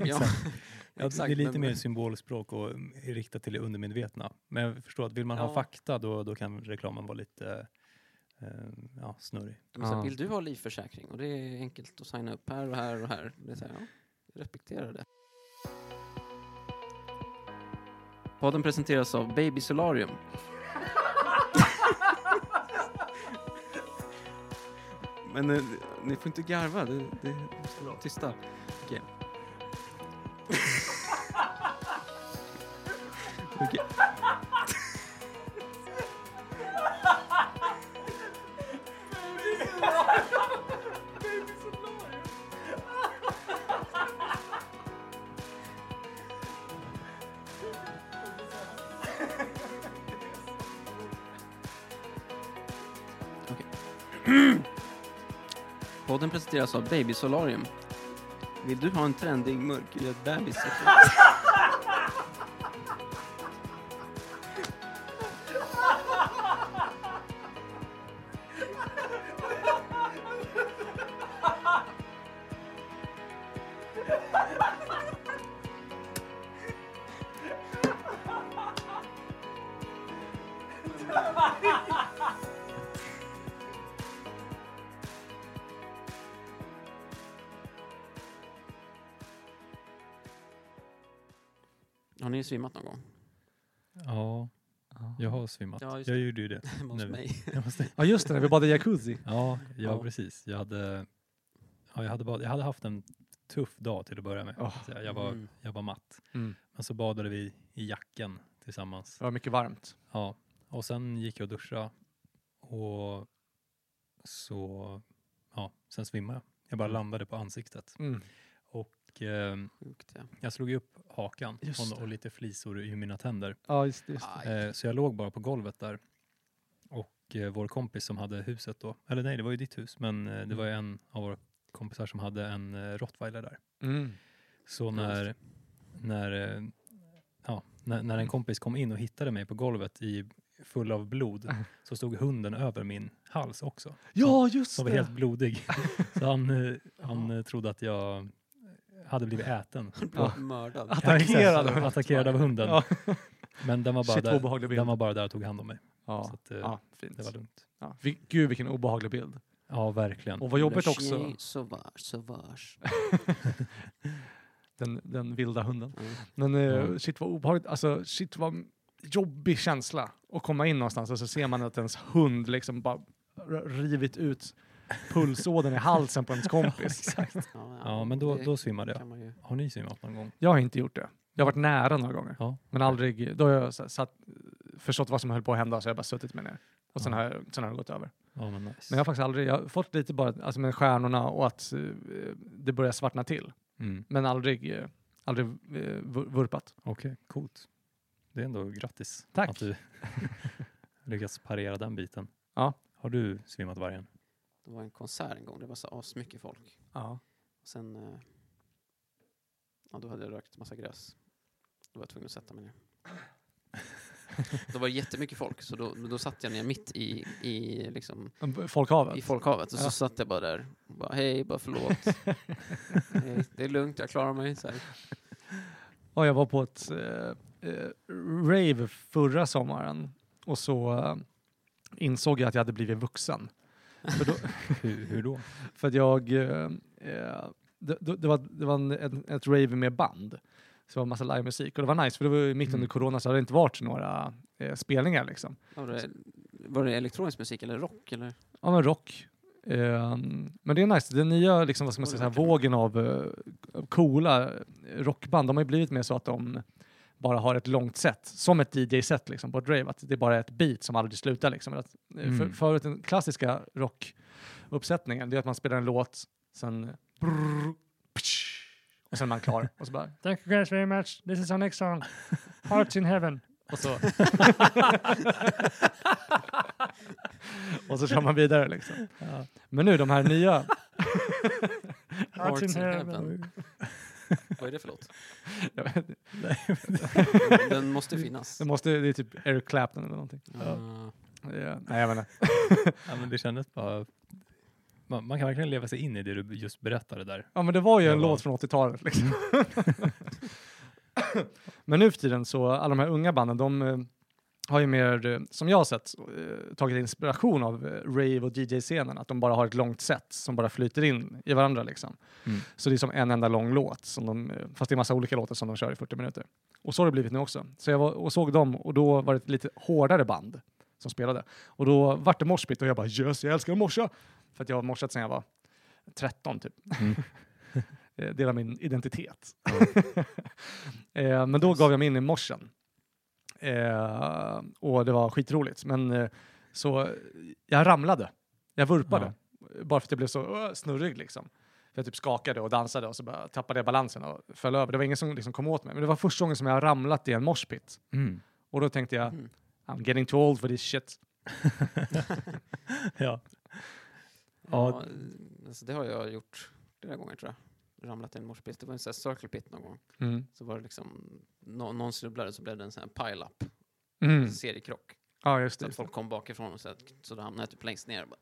C: ja, (laughs)
A: Ja, det är lite
C: men-
A: mer symbolspråk och mm, riktat till det undermedvetna. Men jag förstår att vill man
C: Ja.
A: ha fakta då, då kan reklamen vara lite eh, ja, snurrig.
C: De säger,
B: Ja.
C: vill du ha livförsäkring? Och det är enkelt att signa upp här och här och här. Det är så här ja, jag respekterar det. Podden presenteras av Baby Solarium. (laughs) Men eh, ni får inte garva, det, det är tysta. Okej. Okej. Podden presenteras av Baby Solarium. Vill du ha en trendig mörkhyad bebis? Har ni svimmat någon gång?
A: Ja, jag har svimmat.
C: Ja, just
A: jag gjorde ju det.
C: (laughs) Hemma
A: Nej.
C: hos mig.
A: Jag måste,
B: Ja just det, när vi badade i jacuzzi.
A: ja, ja,
C: Ja.
A: precis. Jag hade, ja, jag, hade bad, jag hade haft en tuff dag till att börja med.
B: Åh.
A: Så jag, jag, var,
C: Mm.
A: jag var matt.
B: Mm.
A: Men så badade vi i jacken tillsammans.
B: Det var mycket varmt.
A: Ja, och sen gick jag och duscha och så, ja, sen svimmade jag. Jag bara landade på ansiktet.
B: Mm.
A: Och, ehm,
C: Sjukt ja.
A: jag slog ju upp hakan
B: Just
A: och, och lite flisor i mina tänder.
B: Ja, just, just.
C: Aj. (laughs)
A: Eh, så jag låg bara på golvet där. Och eh, vår kompis som hade huset då, eller nej det var ju ditt hus, men eh, det var ju en av våra kompisar som hade en eh, rottweiler där.
B: Mm.
A: Så
C: just
A: när, när, eh, ja, när, när en kompis kom in och hittade mig på golvet i full av blod så stod hunden över min hals också.
B: Ja, just
A: Som var
B: det!
A: helt blodig.
B: (laughs)
A: Så han, eh, han eh, trodde att jag hade blivit äten.
B: Ja.
C: Mördad.
B: Attackerad.
A: Ja, exakt. attackerad av hunden.
B: Ja.
A: Men den var, bara
B: Shit, vad
A: där,
B: obehaglig bild.
A: den var bara där och tog hand om mig. Så
B: Ja.
A: att, eh,
B: ja, fint.
A: det var lugnt.
B: Ja. vil- Gud vilken obehaglig bild.
A: Ja, verkligen.
B: Och vad jobbigt också,
C: Sauvage,
A: (laughs)
C: sauvage.
B: den, den vilda hunden.
C: Mm.
B: Men eh,
A: Ja.
B: shit vad obehagligt, alltså shit vad jobbig känsla att komma in någonstans och så ser man att ens hund liksom bara r- rivit ut pulsådern i halsen
A: (laughs)
B: på ens kompis.
A: Exakt.
C: Ja,
A: Ja, men då,
C: det
A: då svimmade jag.
C: kan man ju.
A: Har ni svimmat någon gång?
B: Jag har inte gjort det. Jag har varit nära några gånger,
A: Ja.
B: men aldrig, då har jag så- satt, förstått vad som höll på att hända så har jag bara suttit mig ner. Och sen,
A: Ja.
B: har jag, sen har det gått över.
A: Ja, men nice.
B: Men jag har faktiskt aldrig, jag har fått lite bara, alltså med stjärnorna och att eh, det börjar svartna till.
A: mm.
B: Men aldrig, eh, aldrig eh, vur- vurpat.
A: Okej, coolt. Det är ändå grattis.
B: Tack.
A: Att du (laughs) lyckats parera den biten.
B: Ja.
A: Har du svimmat vargen?
C: Det var en konsert en gång, det var så asmycket folk.
B: Ja.
C: Och sen, eh, ja, då hade jag rökt massa gräs. Då var jag tvungen att sätta
A: (laughs)
C: mig ner. då var det jättemycket folk, så då, men då satt jag ner mitt i, i, liksom,
B: Folkhavet.
C: i folkhavet. Och så
B: Ja.
C: satt jag bara där. Och bara, hej, bara förlåt.
A: (laughs)
C: hej, det är lugnt, jag klarar mig. Så här.
B: Ja, jag var på ett eh, eh, rave förra sommaren och så eh, insåg jag att jag hade blivit vuxen. För, då, (laughs)
A: Hur, hur då?
B: för att jag... Eh, eh, det, det- det var, det var en, ett, ett rave med band. Så det var massa livemusik och det var nice för det var ju mitt
A: Mm.
B: under corona så hade det inte varit några eh, spelningar liksom.
C: Var, det, var det elektronisk musik eller rock? Eller?
B: Ja men rock. Eh, men det är nice, den nya liksom, vad ska man
C: Och
B: säga,
C: det
B: så här,
C: verkar bra.
B: vågen av eh, coola rockband, de har ju blivit mer så att de bara har ett långt set, som ett DJ-set liksom, på ett rave, att det är bara är ett beat som aldrig slutar. Liksom. Att, eh,
A: Mm.
B: för, förut, den klassiska rockuppsättningen, det är att man spelar en låt, sen brrr, psh, och sen är man klar. Och så bara,
D: (laughs) Thank you guys very much. This is our next song, Hearts in Heaven.
B: och så... och så kör man vidare (laughs) liksom. (laughs) Men nu de här nya
D: Hearts in
C: Hearts in
D: Heaven.
C: Heaven. Vad är det för låt?
B: Jag vet, (laughs)
C: (laughs) Den måste finnas.
B: det, måste, det är typ Eric Clapton eller någonting.
C: Ah,
B: Ja, nej, jag menar.
A: (laughs) Ja, men det kändes bara... Man, man kan verkligen leva sig in i det du just berättade där.
B: Ja, men det var ju en
A: Ja.
B: låt från 80-talet. Liksom. Mm. (laughs) men nu för tiden så, alla de här unga banden, de eh, har ju mer, eh, som jag har sett, eh, tagit inspiration av eh, rave och DJ-scenen. Att de bara har ett långt set som bara flyter in i varandra liksom.
A: Mm.
B: Så det är som en enda lång låt, som de, eh, fast det är massa olika låtar som de kör i 40 minuter. Och så har det blivit nu också. Så jag var och såg dem och då var det ett lite hårdare band som spelade. Och då vart det moshpit och jag bara yes, jag älskar att morsa! För att jag har morsat sedan jag var 13 typ.
A: Mm.
B: (laughs) Eh, Delar min identitet. (laughs) eh, men då gav jag mig in i morsen. Eh, och det var skitroligt. Men eh, så jag ramlade. Jag vurpade. Bara för att jag blev så "Åh", snurrig liksom. För jag typ skakade och dansade och så bara tappade jag balansen och föll över. Det var ingen som liksom kom åt mig. Men det var första gången som jag har ramlat i en morspit.
A: Mm.
B: Och då tänkte jag,
C: mm.
B: I'm getting too old for this shit.
A: Ja.
C: ja, alltså det har jag gjort flera gånger tror jag. Ramlat i en morspit. Det var en sån här circle pit någon gång.
B: Mm.
C: Så var det liksom, nå- någon snubblade så blev det en sån här pile-up,
B: Mm.
C: en seriekrock.
B: Ja, just
C: Så
B: det.
C: att folk kom bakifrån och så, att, så då hamnade jag typ längst ner. och bara,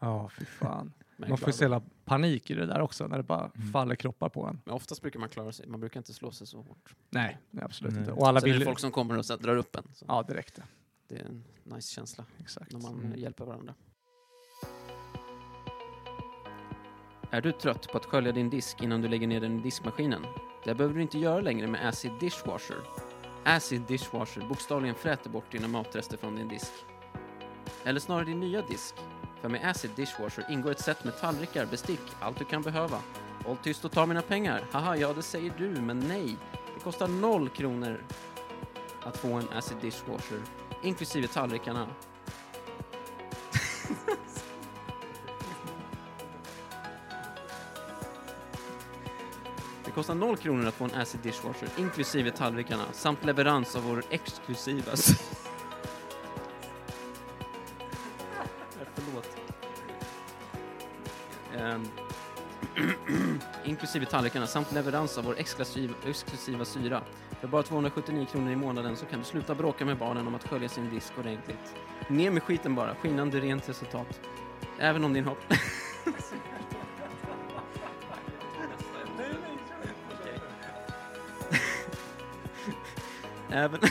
B: Ja, fy fan.
C: men jag
B: Man får ju
C: klarade
B: så jävla panik i det där också, när det bara
A: Mm.
B: faller kroppar på en.
C: Men oftast brukar man klara sig, man brukar inte slå sig så hårt.
B: Nej, Mm. nej, absolut
A: Nej.
B: inte. Och alla
C: Sen är
B: vill
C: det folk som kommer och så här drar upp en. Så
B: Ja, direkt.
C: Det är en nice känsla
B: Exakt.
C: när man
A: Mm.
C: eh, hjälper varandra. Är du trött på att skölja din disk innan du lägger ner den i diskmaskinen? Det behöver du inte göra längre med Acid Dishwasher. Acid Dishwasher bokstavligen fräter bort dina matrester från din disk. Eller snarare din nya disk. För med Acid Dishwasher ingår ett set med tallrikar, bestick, allt du kan behöva. Håll tyst och ta mina pengar. Haha, ja det säger du, men nej. Det kostar noll kronor att få en Acid Dishwasher, inklusive tallrikarna. Det kostar 0 kronor att få en acid dishwasher, inklusive tallrikarna, samt leverans av vår exklusiva... s- Nej, Förlåt. Ehm, (clears throat) inklusive tallrikarna, samt leverans av vår exklusiva, exklusiva syra. För bara 279 kronor i månaden så kan du sluta bråka med barnen om att skölja sin disk ordentligt. Ner med skiten bara, skinande rent resultat. Även om din hopp... Även... (laughs)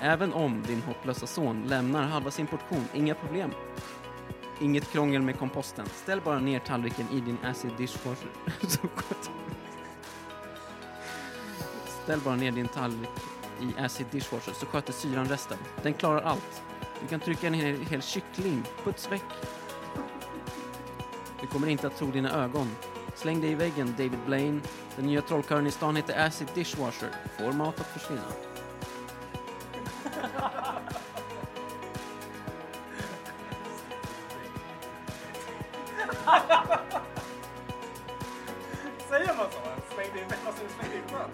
C: Även om din hopplösa son lämnar halva sin portion, inga problem. Inget krångel med komposten. Ställ bara ner tallriken i din acid dishwasher. (laughs) Så gott. Ställ bara ner din tallrik i acid dishwasher så sköter syran resten. Den klarar allt. Du kan trycka ner en hel kyckling. Puts väck. Du kommer inte att tro dina ögon. Släng dig i väggen, David Blaine. Den nya trollkarlen i stan heter Acid Dishwasher. Får mat att försvinna.
E: Säger man så? Släng dig i (laughs) alltså, släng dig i sjön?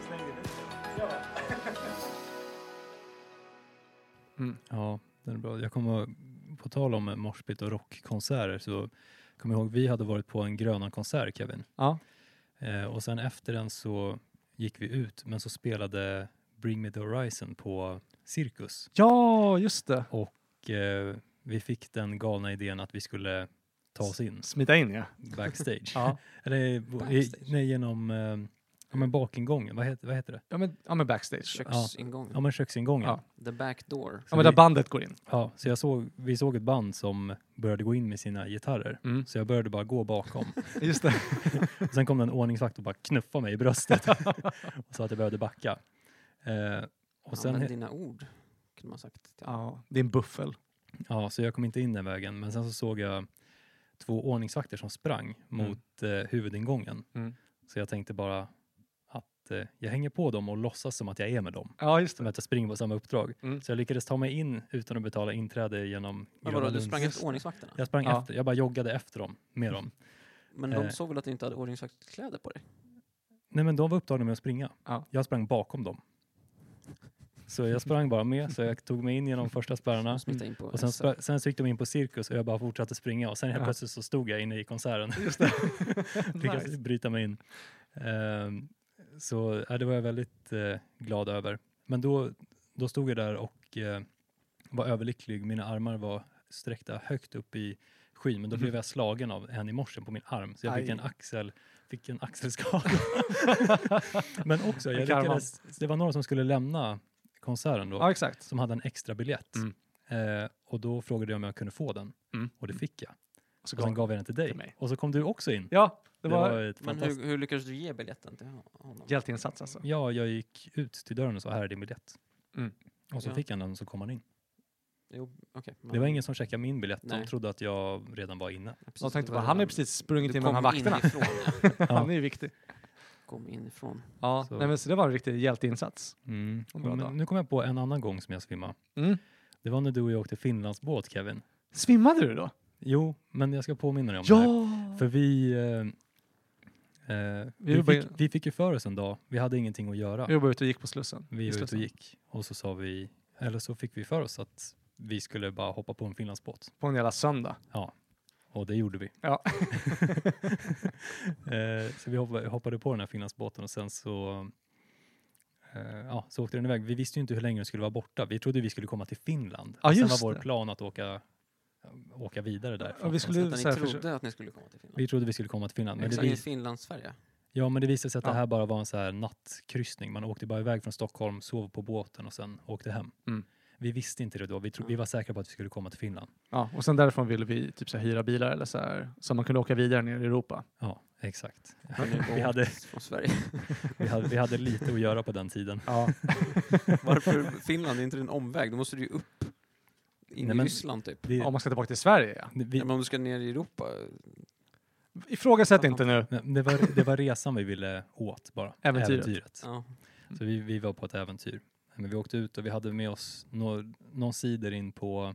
E: Släng dig i diket?
A: Ja, den är bra. Jag kommer att- på tal om morsbit och rockkonserter så kommer jag ihåg vi hade varit på en Grönan-konsert Kevin.
B: Ja.
A: Eh, och sen efter den så gick vi ut men så spelade Bring Me The Horizon på Cirkus.
B: Ja, just det.
A: Och eh, vi fick den galna idén att vi skulle ta oss in
B: Smita in ja.
A: backstage.
B: (laughs) Ja,
A: Eller eh, i-
C: Backstage.
A: nej, genom eh, ja, men bakingången. Vad heter, vad heter det?
B: ja, men, ja, men backstage.
C: Köksingången.
A: Ja, men köksingången.
B: Ja.
A: Ja.
C: The back door.
B: Ja, men där bandet går in.
A: så jag såg, vi såg ett band som började gå in med sina gitarrer.
B: Mm.
A: Så jag började bara gå bakom.
B: (laughs) Just det.
A: Och sen kom det en ordningsvakt och bara knuffade mig i bröstet (laughs) och sa att jag behövde backa. Eh, och sen,
C: Använd
A: ja,
C: dina ord, kunde man sagt. Ja.
B: Ja, det är en buffel.
A: så jag kom inte in den vägen, men sen så såg jag två ordningsvakter som sprang
C: Mm.
A: mot eh, huvudingången.
B: Mm.
A: Så jag tänkte bara att eh, jag hänger på dem och låtsas som att jag är med dem.
B: Ja, just
A: Som att jag springer på samma uppdrag.
B: (laughs) Mm.
A: Så jag lyckades ta mig in utan att betala inträde genom
C: Men
A: Gröna
C: vadå, du
A: Lunds-
C: sprang efter ordningsvakterna?
A: Jag sprang
B: Ja.
A: efter, jag bara joggade efter dem med dem.
C: Men
A: Eh.
C: de såg väl att du inte hade ordningsvaktskläder på dig?
A: Nej men de var upptagna med att springa.
B: Ja.
A: Jag sprang bakom dem. Så jag sprang bara med, så jag tog mig in genom första spärrarna.
C: Och smita in på
A: Mm. Och sen,
C: SR.
A: spra- sen så gick de in på cirkus och jag bara fortsatte springa och sen helt
B: Ja.
A: plötsligt så stod jag inne i konserten. (laughs)
B: Just det.
A: Lyckades
B: (laughs) nice.
A: bryta mig in. Ehm, så ja, det var jag väldigt eh, glad över. Men då, då stod jag där och eh, var överlycklig. Mina armar var sträckta högt upp i skyn, men då blev jag slagen av en i morsen på min arm. Så jag fick
B: Mhm. Aj.
A: en, axel, fick en
B: (laughs)
A: axelskada. men också, jag
B: Vilka armar?
A: lyckades, det var några som skulle lämna konserten då
B: Ja, exakt.
A: som hade en extra biljett.
B: Mm.
A: Eh, och då frågade jag om jag kunde få den
B: Mm.
A: och det fick jag.
B: Så
A: Och sen
B: gav-
A: gav jag den till dig.
B: till mig.
A: och så kom du också in.
B: Alltså, Ja, det
A: Det
B: var,
A: var, ett
C: Men
A: fantastiskt...
C: hur, hur lyckades du ge biljetten till honom?
B: hjälteinsats alltså.
A: Ja, jag gick ut till dörren och sa här är din biljett.
B: Mm.
A: Och så
C: Ja.
A: fick han den och så kom han in.
C: Jo, okej. men-
A: Det var ingen som checkade min biljett. De
C: Nej.
A: trodde att jag redan var inne.
C: Ja, precis,
B: De tänkte
C: det var
B: bara, han har ju
C: redan-
B: precis sprungit
C: Du
B: in med de här
C: kom
B: vakterna.
C: inifrån. ja.
B: Han är ju viktig.
C: Kom inifrån.
B: Ja,
A: Så.
B: Nej, men så det var en riktig hjälteinsats.
A: Mm.
B: Och bra dag.
A: Men nu kom jag på en annan gång som jag svimmade.
B: Mm.
A: Det var när du och jag åkte Finlandsbåt Kevin.
B: Svimmade du då?
A: Jo, men jag ska påminna dig om det här.
B: Ja!
A: För vi, eh, eh, vi,
B: jobbar-
A: fick, vi fick ju för oss en dag, vi hade ingenting att göra.
B: Jag var ute och gick på Slussen.
A: Vi
B: I
A: var ute
B: Slussen.
A: och gick och så sa vi, eller så fick vi för oss att vi skulle bara hoppa på en Finlandsbåt.
B: På en jävla söndag.
A: Och det gjorde vi.
B: Ja.
A: (laughs) eh, så vi hoppade, hoppade på den här Finlandsbåten och sen så, eh, ja, så åkte den iväg. Vi visste ju inte hur länge den skulle vara borta. Vi trodde vi skulle komma till Finland.
B: Ja,
A: Och sen
B: just
A: var vår
B: det.
A: plan att åka, åka vidare
B: Ja,
A: därifrån.
B: vi
C: Så
B: skulle
C: att
B: så
C: ni
B: här, försöka-
C: trodde att ni skulle komma till Finland.
A: Vi trodde vi skulle komma till Finland. Men det,
C: Exakt. I
A: vis,
C: Finland-Sverige.
A: ja, men det visade sig att
B: Ja.
A: det här bara var en så här nattkryssning. Man åkte bara iväg från Stockholm, sov på båten och sen åkte hem.
B: Mm.
A: Vi visste inte det då. Vi, tro, vi var säkra på att vi skulle komma till Finland.
B: Ja, och sen därifrån ville vi typ så här, hyra bilar eller så här, så man kunde åka vidare ner i Europa.
A: Ja, exakt.
C: Men nu
A: (laughs) (laughs) Vi hade,
C: Från Sverige.
A: vi, hade, vi hade lite att göra på den tiden.
B: Ja,
C: Varför Finland? Det är inte en omväg. Då måste du ju upp in
A: Nej,
C: i
A: men-
C: Ryssland typ.
A: Vi,
B: om man ska tillbaka till Sverige ja.
A: vi,
C: Ja, men om du ska ner i Europa.
B: Ifrågasätt inte nu.
A: nej, det, var, det var resan vi ville åt bara.
B: Äventyret.
C: Ja.
A: Så vi, vi var på ett äventyr. Men vi åkte ut och vi hade med oss nå, någon cider in på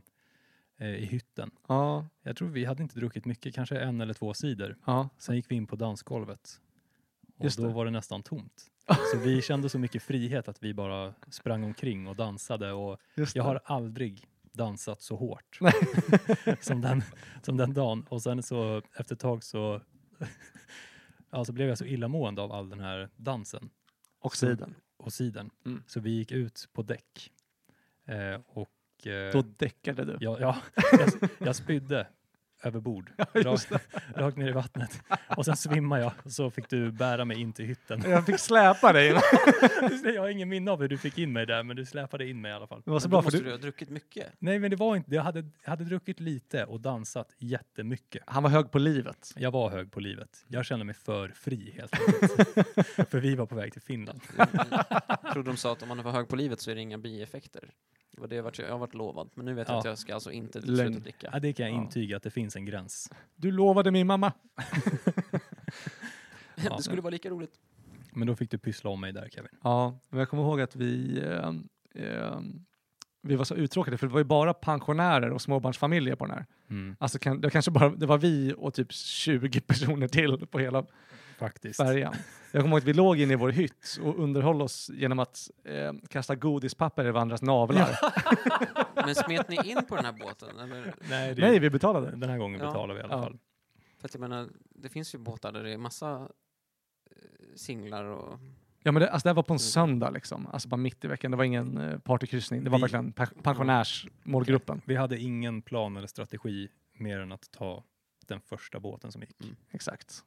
A: eh, i hytten.
B: Ja,
A: Jag tror vi hade inte druckit mycket, kanske en eller två cider.
B: ja.
A: Sen gick vi in på dansgolvet. Och
B: Just
A: då
B: det.
A: var det nästan
B: (laughs)
A: tomt. Så vi kände så mycket frihet att vi bara sprang omkring och dansade och
B: Just
A: Jag
B: det.
A: har aldrig dansat så hårt (laughs) som, den, som den dagen. Och sen så efter ett tag så (laughs) alltså blev jag så illamående av all den här dansen
B: Och sidan.
A: och siden.
B: Mm.
A: Så vi gick ut på däck. Eh, och, eh,
B: Då däckade du.
A: jag, ja, jag, jag spydde över
B: (laughs)
A: bord, rakt, rakt ner i vattnet. Och sen svimmade jag och så fick du bära mig in till
B: (laughs)
A: hytten.
B: Jag fick släpa (laughs) dig.
A: Jag har ingen minne av hur du fick in mig där, men du släpade in mig i alla fall.
B: Det var så
C: Men
B: bra
C: då
B: för
C: måste
B: du,
C: du ha druckit mycket.
A: Nej, men det var inte. Jag hade, jag hade druckit lite och dansat jättemycket.
B: han var hög på livet.
A: Jag var hög på livet. Jag kände mig för fri helt
B: (laughs)
A: enkelt. för vi var på väg till Finland.
C: Jag trodde de sa att om man var hög på livet så är det inga bieffekter. Det var det jag varit- jag har varit lovad. Men nu vet jag
A: Ja.
C: att jag ska alltså inte
B: Lögn.
C: sluta
A: Ja,
C: dricka.
A: det kan jag
B: Ja.
A: intyga att det finns en gräns.
B: Du lovade min mamma.
A: Ja.
C: (laughs) Det skulle vara lika roligt.
A: Men då fick du pyssla om mig där Kevin.
B: Ja, men jag kommer ihåg att vi, eh, eh, vi var så uttråkade för det var ju bara pensionärer och småbarnsfamiljer på den här.
A: Mm,
B: Alltså kan, det, kanske bara, det var vi och typ 20 personer till på hela
A: faktiskt.
B: färjan. Jag kommer ihåg att vi låg inne i vår hytt och underhöll oss genom att eh, kasta godispapper i varandras navlar.
C: Men smet ni in på den här båten? Eller?
A: Nej, det,
B: Nej, vi betalade.
A: den här gången
C: Ja.
A: betalar vi i alla
B: Ja.
A: fall.
C: För att jag menar, det finns ju båtar där det är massa eh, singlar och...
B: Ja, men det, alltså, det här var på en söndag liksom, alltså bara mitt i veckan. Det var ingen eh, partykryssning, det var
A: Vi-
B: verkligen pe- pensionärsmålgruppen.
A: Vi hade ingen plan eller strategi mer än att ta den första båten som gick.
B: Exakt.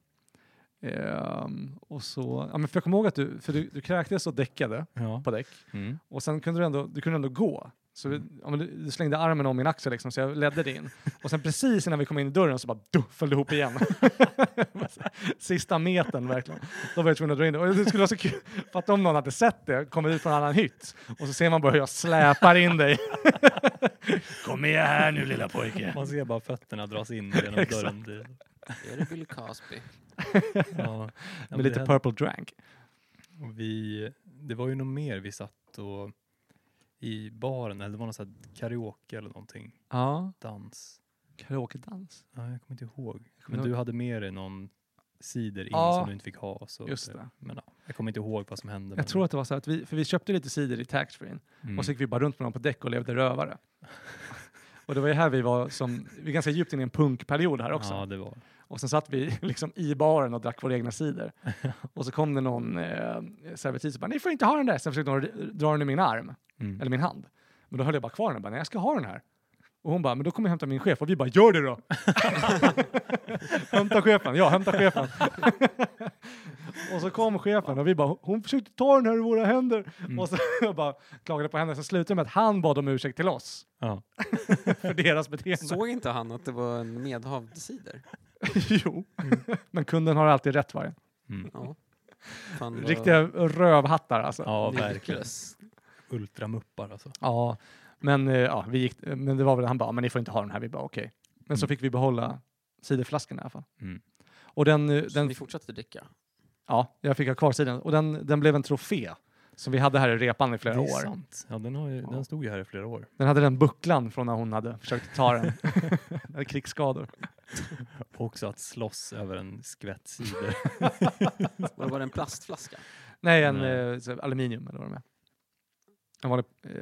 B: Ehm, och så, ja, men för jag kommer ihåg att du, för du, du kräktes och däckade
A: Ja.
B: på däck
A: Mm.
B: och sen kunde du ändå, du kunde ändå gå. Så vi, ja, men du, du slängde armen om min axel liksom, så jag ledde dig in. Och sen precis innan vi kom in i dörren så bara du, föll du ihop igen. (laughs) Sista metern verkligen. Då var jag tvungen att dra in dig. Och det skulle vara så kul, för att om någon hade sett det, kommit ut från en annan hytt och så ser man bara hur jag släpar in dig. (laughs) kom med här nu lilla pojke.
A: Man ser bara fötterna dras in
B: (laughs)
A: genom dörren. Det,
C: Är det Bill Cosby?
A: ja. Ja,
B: Med lite
A: det-
B: purple drank.
A: Och vi, det var ju något mer vi satt och i baren, eller det var någon sån här karaoke eller någonting,
B: Ja,
A: dans.
B: karaoke-dans.
A: Ja, jag kommer inte ihåg.
B: kommer
A: Men
B: ihåg-
A: du hade med dig någon cider in
B: Ja,
A: som du inte fick ha. Så
B: Just det.
A: Men, ja. Jag kommer inte ihåg vad som hände. men-
B: Jag tror att det var så att vi, för vi köpte lite cider i taxfreen
A: Mm.
B: och så gick vi bara runt med dem på däck och levde rövare. (laughs) och det var ju här vi var som, vi är ganska djupt inne i en punkperiod här också.
A: Ja, det var.
B: Och sen satt vi (laughs) liksom i baren och drack våra
A: (laughs)
B: egna cider. och så kom det någon eh, servitris och bara, ni får inte ha den där. Sen försökte hon r- dra den i min arm,
A: Mm.
B: eller min hand. Men då höll jag bara kvar den och bara, nej jag ska ha den här. Och hon bara, men då kommer jag hämta min chef. Och vi bara, gör det då! (laughs) hämta chefen, ja hämta chefen. (laughs) och så kom chefen och vi bara, hon försökte ta den här i våra händer.
A: Mm.
B: Och så (laughs) jag bara klagade på henne. Sen slutade det med att han bad om ursäkt till oss
A: Ja.
B: för deras beteende.
C: Såg inte han att det var en medhavd cider?
B: (laughs) jo, men kunden har alltid rätt varje.
A: Mm.
C: Ja. Fan, vad-
B: Riktiga rövhattar alltså. Ja.
A: ja,
C: det är
A: verkligen.
C: ridiculous.
A: Ultramuppar alltså.
B: Men, eh, ja, vi gick, men det var väl han bara, men ni får inte ha den här. Vi bara okej. Men så
A: Mm.
B: fick vi behålla ciderflaskan i alla fall.
A: Mm.
B: Och den, eh,
C: Så
B: den
C: ni fortsatte dricka?
B: ja, jag fick ha kvar sidan. Och den, den blev en trofé som vi hade här i repan i
A: Det
B: flera
A: är
B: år.
A: sant. Ja, den, har ju, den stod ju här i flera år.
B: Den hade den bucklan från när hon hade försökt
A: (laughs)
B: ta den. Den hade krigsskador.
A: Också att slåss över en skvätt
B: (laughs)
A: cider.
C: Var det bara en plastflaska?
B: Nej, en
A: Nej.
B: eh, så- aluminium eller vad de är. En vanlig, eh,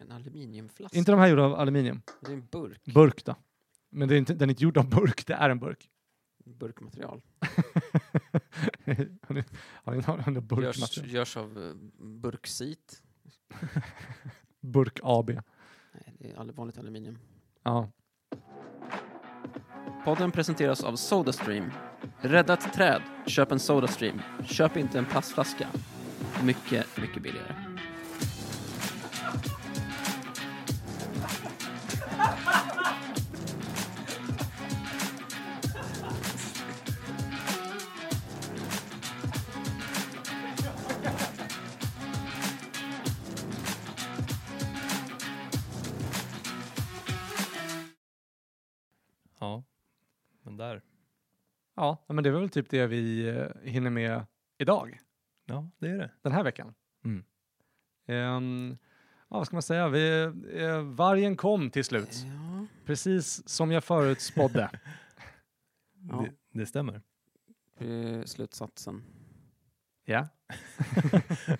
C: En aluminiumflaska?
B: inte de här gjorda av aluminium.
C: Det är en burk.
B: Burk då. Men det är inte, den är inte gjord av burk, det är en burk. (laughs)
C: Burkmaterial.
B: har ni, har ni någon
C: Görs,
B: burkmaterial?
C: görs av eh, burksit.
B: Burk AB.
C: Nej, det är all- vanligt aluminium.
B: Ja.
C: Podden presenteras av Sodastream. Rädda ett träd. Köp en Sodastream. Köp inte en plastflaska. Mycket, mycket billigare.
A: Ja, men där.
B: ja, men det var väl typ det vi eh, hinner med idag,
A: Ja, det är det.
B: den här veckan.
A: Mm.
B: Ehm, ja, vad ska man säga? Vi, eh, vargen kom till slut,
C: Ja,
B: precis som jag förutspådde.
C: Ja.
A: Det, det stämmer.
C: det är slutsatsen.
B: (laughs) ja,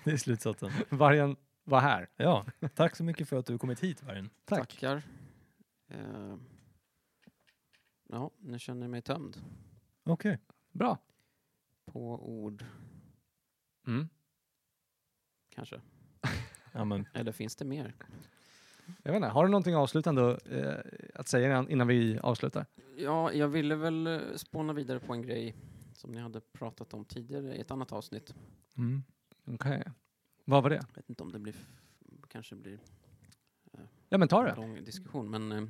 A: Det är slutsatsen.
B: vargen var här.
A: Ja, tack så mycket för att du kommit hit Vargen.
B: Tack.
C: Tackar. Eh, ja, nu känner jag mig tömd
A: Okej.
B: Bra.
C: på ord,
B: Mm.
C: kanske.
A: Ja, men
C: Eller finns det mer?
B: Jag vet inte, har du någonting avslutande eh, att säga innan, innan vi avslutar?
C: Ja, jag ville väl eh, spåna vidare på en grej som ni hade pratat om tidigare i ett annat avsnitt.
A: mm.
B: Okej. Vad var det?
C: Jag vet inte om det blir, f- kanske blir
B: Ja, men ta
C: en
B: det.
C: lång diskussion, men eh,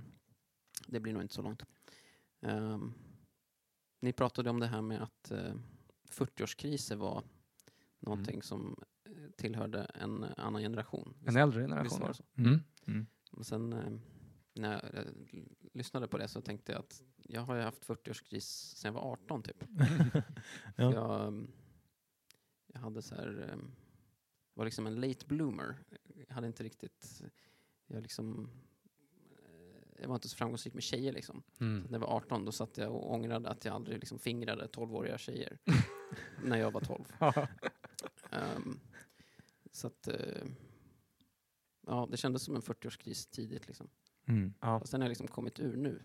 C: det blir nog inte så långt. Ehm, ni pratade om det här med att eh, 40-årskriser var
B: Mm.
C: någonting som eh, tillhörde en annan generation.
B: En äldre
C: Visst
B: generation.
C: var
B: var
C: det
B: det.
C: så?
B: Mm.
C: Och sen eh, när jag eh, l- lyssnade på det så tänkte jag att jag har ju haft 40-årskris sen jag var 18 typ.
A: Ja.
C: jag, eh, jag hade så här, eh, var liksom en late bloomer. Jag hade inte riktigt, jag liksom, eh, jag var inte så framgångsrik med tjejer liksom.
B: Mm.
C: När jag var 18 då satt jag och ångrade att jag aldrig liksom fingrade 12-åriga tjejer när jag var 12. Ehm, så att, eh, ja det kändes som en 40-årskris tidigt liksom.
A: Mm.
B: Ja.
C: Och sen har jag liksom kommit ur nu.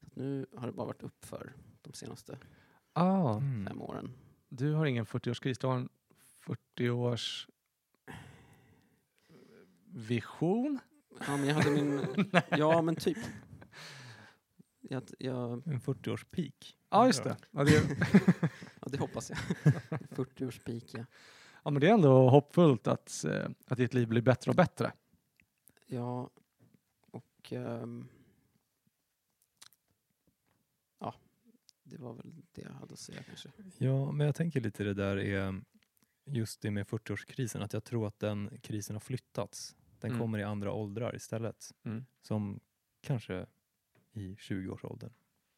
C: Så att nu har det bara varit uppför de senaste
B: Ah,
A: Mm.
C: fem åren.
B: du har ingen 40-årskris, du har en 40-års vision?
C: Ja men jag hade min... ja men typ. Jag, jag,
A: En 40-årspik.
B: Ja, just det. Ja, det är,
C: ja, det hoppas jag. (laughs) 40 års peak ja.
B: ja, men det är ändå hoppfullt att, eh, att ditt liv blir bättre och bättre.
C: ja. Och... ehm, ja. Det var väl det jag hade att säga kanske.
A: Ja, men jag tänker lite det där är just det med 40-årskrisen, att jag tror att den krisen har flyttats. Den
B: Mm.
A: kommer i andra åldrar istället,
B: Mm.
A: som kanske i 20-årsåldern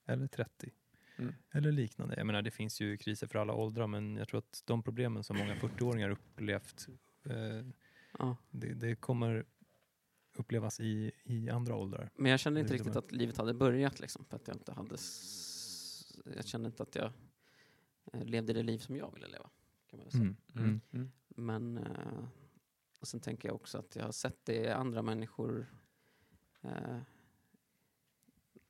A: eller 30
B: Mm.
A: eller liknande. Jag menar, det finns ju kriser för alla åldrar, men jag tror att de problemen som många 40-åringar upplevt, eh,
C: Ja.
A: det, det kommer upplevas i, i andra
B: (laughs)
A: åldrar.
C: Men jag kände
A: Det
C: inte
A: är det
C: riktigt
A: med.
C: att livet hade börjat liksom. För att jag inte hade... S- jag kände inte att jag eh, levde det liv som jag ville leva. Kan man väl säga.
A: Mm. Mm.
B: Mm.
C: Men eh, och sen tänker jag också att jag har sett det i andra människor. Eh,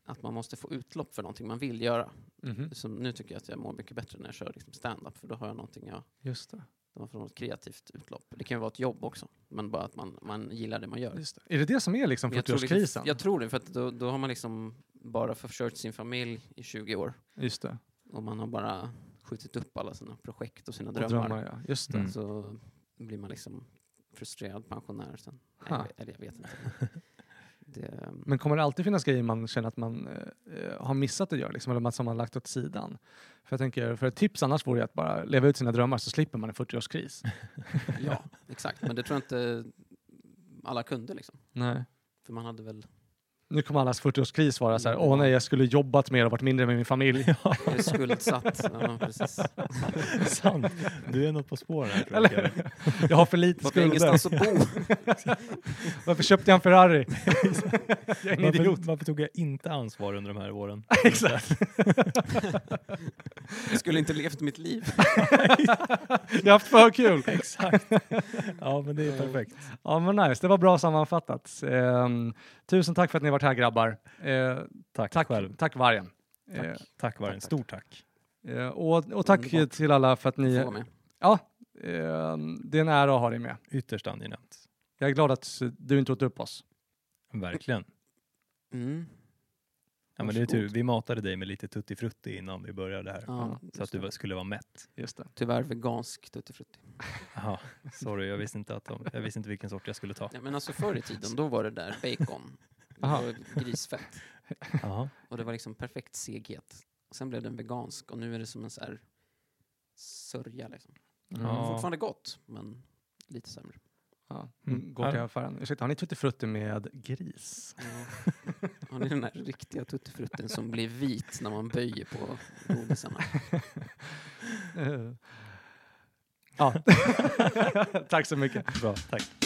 C: att man måste få utlopp för någonting man vill göra.
B: Mhm.
C: Som nu tycker jag att jag mår mycket bättre när jag kör liksom stand-up för då har jag någonting jag,
B: Just det.
C: då man får något kreativt utlopp. Det kan ju vara ett jobb också, men bara att man, man gillar det man gör.
B: Just det. Är det det som är liksom
C: Men jag, tror liksom,
B: 40-årskrisen?
C: jag tror det, för att då, då har man liksom bara försörjt sin familj i 20 år
B: Just det.
C: och man har bara skjutit upp alla sina projekt och sina
B: Och
C: drömmar.
B: drömmar, ja. Just det.
A: Mm.
C: Så blir man liksom frustrerad pensionär sen.
B: Ha.
C: Eller, eller jag vet inte. Det,
B: Men kommer det alltid finnas grejer man känner att man eh, eh, har missat att göra, liksom, eller som man lagt åt sidan? För jag tänker, för ett tips annars vore ju att bara leva ut sina drömmar så slipper man en
C: (laughs)
B: 40-årskris.
C: ja, exakt. Men det tror jag inte alla kunde liksom.
B: Nej.
C: För man hade väl
B: Nu kommer allas 40-årskris vara så här, åh nej, jag skulle jobbat mer och varit mindre med min
C: (laughs)
B: familj.
C: jag är skuldsatt. ja, precis.
A: (laughs) Sant. Du är något på spåren här tror jag. Kevin.
B: (laughs) Jag har för lite
C: Varför har jag
B: skulder.
C: ingenstans att bo?
B: (laughs) Varför köpte jag en Ferrari? jag är en idiot.
A: Varför, varför tog jag inte ansvar under de här åren?
B: Exakt.
C: Jag skulle inte levt mitt liv.
B: (laughs) Jag har haft för kul.
A: (laughs) Exakt. Ja, men det är perfekt.
B: Ja, men nice. Det var bra sammanfattat. Ehm, tusen tack för att ni har varit här grabbar. Eh,
A: Tack,
B: tack,
A: själv.
B: tack vargen.
C: Tack.
B: Eh,
A: Tack Vargen. Stort tack.
B: Eh, och, och tack
C: Underbart.
B: till alla för att ni...
C: Får vara med.
B: Ja, ehm, det är en ära att ha dig med.
A: Ytterst angenämt.
B: Jag är glad att du inte åt upp oss.
A: Verkligen.
C: Mm.
A: Ja, men det är tur.
C: Varsågod.
A: Vi matade dig med lite tutti frutti innan vi började här.
C: Ja,
A: Så att
C: just
A: du
C: det.
A: var- skulle vara mätt.
B: Just det.
C: Tyvärr vegansk tuttifrutti.
A: Aha, (laughs) sorry, jag visste, inte att de, jag visste inte vilken sort jag skulle ta.
C: Ja, men alltså förr i tiden, då var det där bacon. Det
B: Aha.
C: var grisfett.
A: Aha.
C: Och det var liksom perfekt seghet. Sen blev den vegansk och nu är det som en så här sörja liksom.
A: Ja.
C: Fortfarande gott, men lite sämre.
B: Ja.
A: Mm.
B: Går till affären. Ursäkta, har ni tuttifrutti med
A: (laughs)
B: gris?
C: Har ni den här riktiga tuttifrutten som blir vit när man böjer på godisarna?
A: (laughs)
B: Eh. ja. (laughs) tack så mycket.
A: Bra, tack.